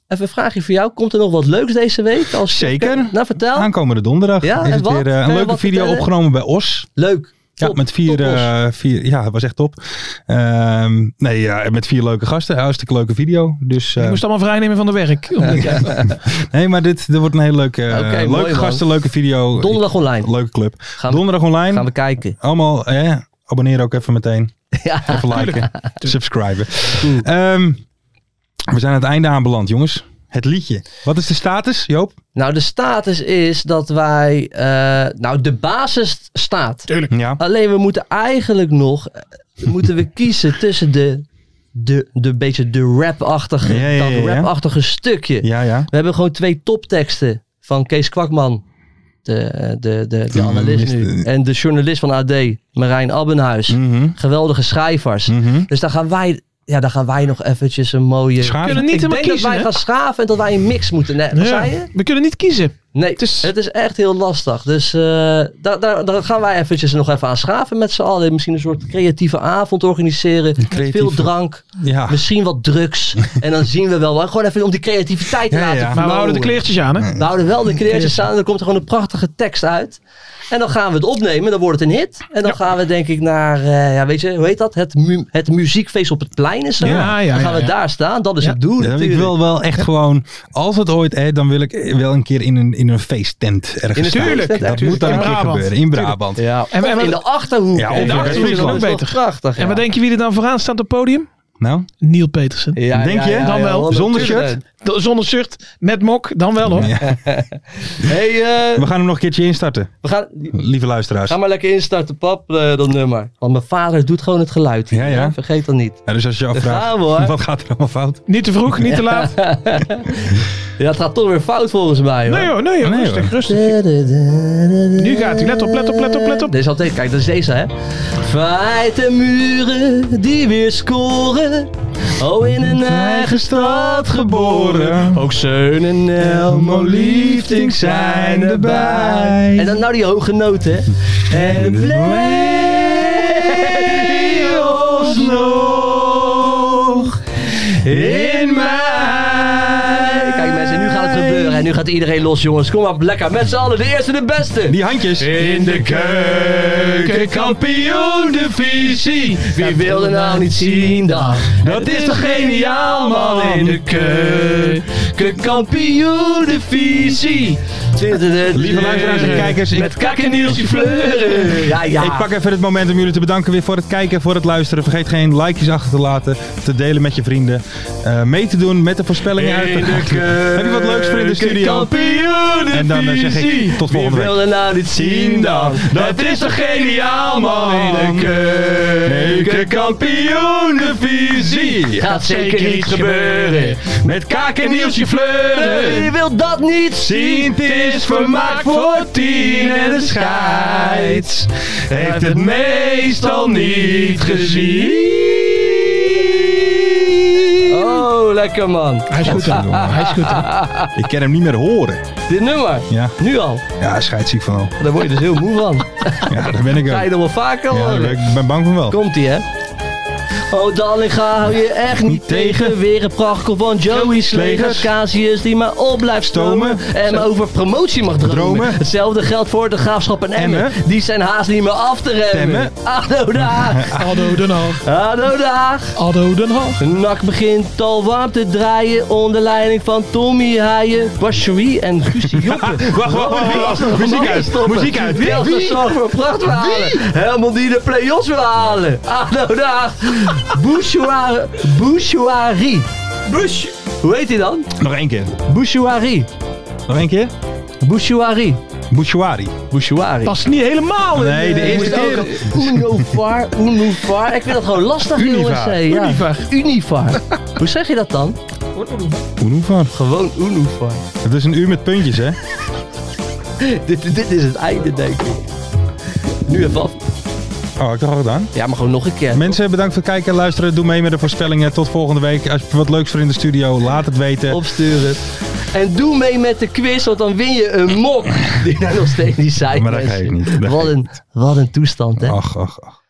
S5: Even een vraagje voor jou. Komt er nog wat leuks deze week? Als chef
S4: Zeker.
S5: keuken- Nou, vertel.
S4: Aankomende donderdag
S5: Ja,
S4: is
S5: en
S4: het
S5: wat?
S4: weer eh,
S5: Kan
S4: een
S5: je
S4: leuke
S5: wat
S4: video
S5: vertellen?
S4: opgenomen bij Os.
S5: Leuk.
S4: Ja,
S5: Top.
S4: met vier,
S5: Top, Os.
S4: eh, vier. Ja, het was echt top. Ehm, nee, ja, met vier leuke gasten. Hartstikke leuke video. Dus, eh,
S6: Ik moest allemaal vrijnemen van de werk.
S4: nee, maar dit, dit wordt een hele leuke, eh,
S5: Oké, mooi,
S4: leuke
S5: man.
S4: gasten, leuke video. eh,
S5: Donderdag online.
S4: Leuke club.
S5: Gaan we-
S4: Donderdag online.
S5: Gaan we kijken.
S4: Allemaal, eh, abonneer ook even meteen.
S5: Ja.
S4: Even liken. subscriben. Ehm, we zijn aan het einde aanbeland, jongens. Het liedje. Wat is de status, Joop?
S5: Nou, de status is dat wij. eh, nou, de basis staat.
S4: Ja.
S5: Alleen we moeten eigenlijk nog. eh, moeten we kiezen tussen de. De, de beetje de rap-achtige,
S4: Ja, ja, ja,
S5: dat
S4: ja.
S5: rap-achtige stukje.
S4: Ja, ja.
S5: We hebben gewoon twee topteksten van Kees Kwakman, de, eh, de, de, de analist nu,
S4: minister.
S5: en de journalist van AD, Marijn Abbenhuis.
S4: Mhm.
S5: Geweldige schrijvers.
S4: Mhm.
S5: Dus daar gaan wij, ja, daar gaan wij nog eventjes een mooie...
S4: Schaaf-
S6: kunnen niet
S5: ik
S6: helemaal
S5: denk dat
S6: kiezen.
S5: wij
S6: hè?
S5: gaan schaven en dat wij een mix moeten... Nee, wat
S6: Ja.
S5: zei je?
S6: We kunnen niet kiezen.
S5: Nee,
S6: Het is-
S5: het is echt heel lastig. Dus eh, daar, daar, daar gaan wij eventjes nog even aan schaven met z'n allen. Misschien een soort creatieve avond organiseren. met
S4: creatieve- Ah.
S5: Veel drank,
S4: ja.
S5: misschien wat drugs. en dan zien we wel. Gewoon even om die creativiteit te
S4: Ja,
S5: laten
S4: ja. Maar
S6: Maar we houden de
S5: vloeien.
S6: kleertjes aan, hè?
S5: We houden wel Nou. de creëertjes aan. Dan komt er gewoon een prachtige tekst uit. En dan gaan we het opnemen. Dan wordt het een hit. En dan gaan we denk ik naar, eh, ja, weet je, hoe heet dat? Het, mu- het muziekfeest op het plein is zo.
S6: Ja, ja,
S5: dan gaan
S6: ja,
S5: we
S6: ja.
S5: daar staan. Dat is
S6: Ja.
S5: het doel
S4: Ja, ik
S5: natuurlijk.
S4: wil wel echt gewoon, als het ooit hè, dan wil ik eh, wel een keer in een, in een feesttent ergens staan.
S6: Tuurlijk,
S4: Dat
S5: tuurlijk.
S4: moet dan
S6: In
S4: een keer
S6: Brabant.
S4: gebeuren, in Brabant.
S5: Ja,
S6: En-
S5: en,
S6: en-
S5: in de Achterhoek.
S4: Ja,
S5: Kijk,
S4: in de
S5: dat is
S4: Achterhoek is
S5: toch
S4: ook
S6: beter.
S5: prachtig.
S6: En wat denk je wie er dan vooraan staat op het podium?
S4: Nou,
S6: Neil Petersen.
S5: Ja,
S4: Denk
S5: ja,
S4: je?
S5: ja,
S4: Dan
S5: ja,
S4: wel.
S5: honderd-
S4: Zonder
S5: tuurlijk.
S4: shirt?
S6: De- Zonder shirt, met mok, dan wel hoor.
S4: Ja.
S5: Hey, eh,
S4: we gaan hem nog een keertje instarten,
S5: we gaan,
S4: lieve luisteraars.
S5: ga maar lekker instarten, pap, eh, dat nummer. Want mijn vader doet gewoon het geluid. hier,
S4: Ja, ja.
S5: hè? Vergeet dat niet.
S4: Ja, dus als je je
S5: Daar
S4: afvraagt,
S5: gaan we, hoor.
S4: wat gaat er allemaal fout?
S6: Niet te vroeg, niet te laat.
S5: Ja, het gaat toch weer fout volgens mij.
S6: Nee hoor, nee, hoor, rustig, rustig. Nu gaat hij. Let op, let op, let op, let op.
S5: Deze altijd, kijk, dat is deze, hè. Vijt de muren die weer scoren. Oh, in een eigen stad geboren. Ook Zeun en Elmo liefding zijn erbij. En dan nou die hoge noten, hè. En de play-offs nog in mij. Kijk mensen, nu gaat het gebeuren. En nu gaat iedereen los, jongens. Kom maar, lekker. Met z'n allen, de eerste, de beste.
S4: Die handjes.
S5: In de keuken, kampioen divisie. Wie wil er nou niet zien dan? Dat is toch geniaal, man. In de keuken, kampioen divisie.
S4: Lieve luisteraars en kijkers, ik-
S5: Met kak en Nielsje Fleuren. Ja, ja.
S4: Ik pak even het moment om jullie te bedanken weer voor het kijken, voor het luisteren. Vergeet geen likejes achter te laten, te delen met je vrienden. eh, mee te doen met de voorspellingen uit de Heb je wat leuks voor in de studio? En dan eh, zeg ik tot volgende
S5: Wie
S4: week.
S5: wil er nou niet zien dan? Dat is toch geniaal man in de keukenkampioenenvisie. Gaat zeker iets gebeuren met kaak en Nielsje Fleuren. Wie wil dat niet zien? Het is vermaakt voor tien en de scheids heeft het meestal niet gezien. Oh, lekker man.
S4: Hij is goed, hè, jongen. Hij is goed, hè. Ik kan hem niet meer horen.
S5: Dit nummer?
S4: Ja.
S5: Nu al?
S4: Ja, scheidsziek van al.
S5: Daar word je dus heel moe van.
S4: Ja, daar ben ik
S5: Ga je
S4: ook.
S5: nog wel vaker
S4: Ja,
S5: horen?
S4: ik ben bang van wel.
S5: Komt ie, hè? Oh, Dallinga hou je echt niet tegen. Weer een prachtkel van Joey Slegers. Casius die maar op blijft stomen. En over promotie mag dromen.
S4: Dromen.
S5: Hetzelfde geldt voor de graafschap en Emmen.
S4: Emmen.
S5: Die zijn haast niet meer af te remmen.
S4: Temmen.
S5: Ado Daag.
S6: Ado Den Haag.
S5: Ado Daag.
S6: Ado Den Haag.
S5: NAC begint al warm te draaien onder leiding van Tommy Haaien, Bashoui en Guusje Joppen.
S4: wacht, wacht, wacht, wacht. Muziek uit, muziek uit. Wie?
S5: Delta
S4: Wie?
S5: zorg voor pracht wil halen. Helemaal die de play-offs wil halen. Ado Daag. Bouchoir- Bouchouari. Bush. Hoe heet hij dan?
S4: Nog één keer.
S5: Bouchouari.
S4: Nog één keer.
S5: Bouchouari.
S4: Bouchouari.
S5: Bouchouari.
S6: Past niet helemaal in.
S4: Nee, de
S6: eh,
S4: eerste keer.
S5: Unovar, Unovar. Ik vind dat gewoon lastig, jongens.
S4: Univar,
S5: hè, Ja.
S6: Univar.
S5: Univar. Hoe zeg je dat dan?
S4: Oenoefar.
S5: Gewoon Unovar.
S4: Het is een uur met puntjes, hè?
S5: dit, dit is het einde, denk ik. Nu even af.
S4: Oh, heb ik dat al gedaan?
S5: Ja, maar gewoon nog een keer.
S4: Mensen, bedankt voor het kijken en luisteren. Doe mee met de voorspellingen. Tot volgende week. Als je wat leuks voor in de studio, laat het weten.
S5: Opsturen. En doe mee met de quiz, want dan win je een mok. Die daar nog steeds niet zijn.
S4: Maar dat
S5: mensen.
S4: geeft niet, dat
S5: Wat
S4: geeft
S5: een, wat een toestand, hè?
S4: Ach, ach, ach.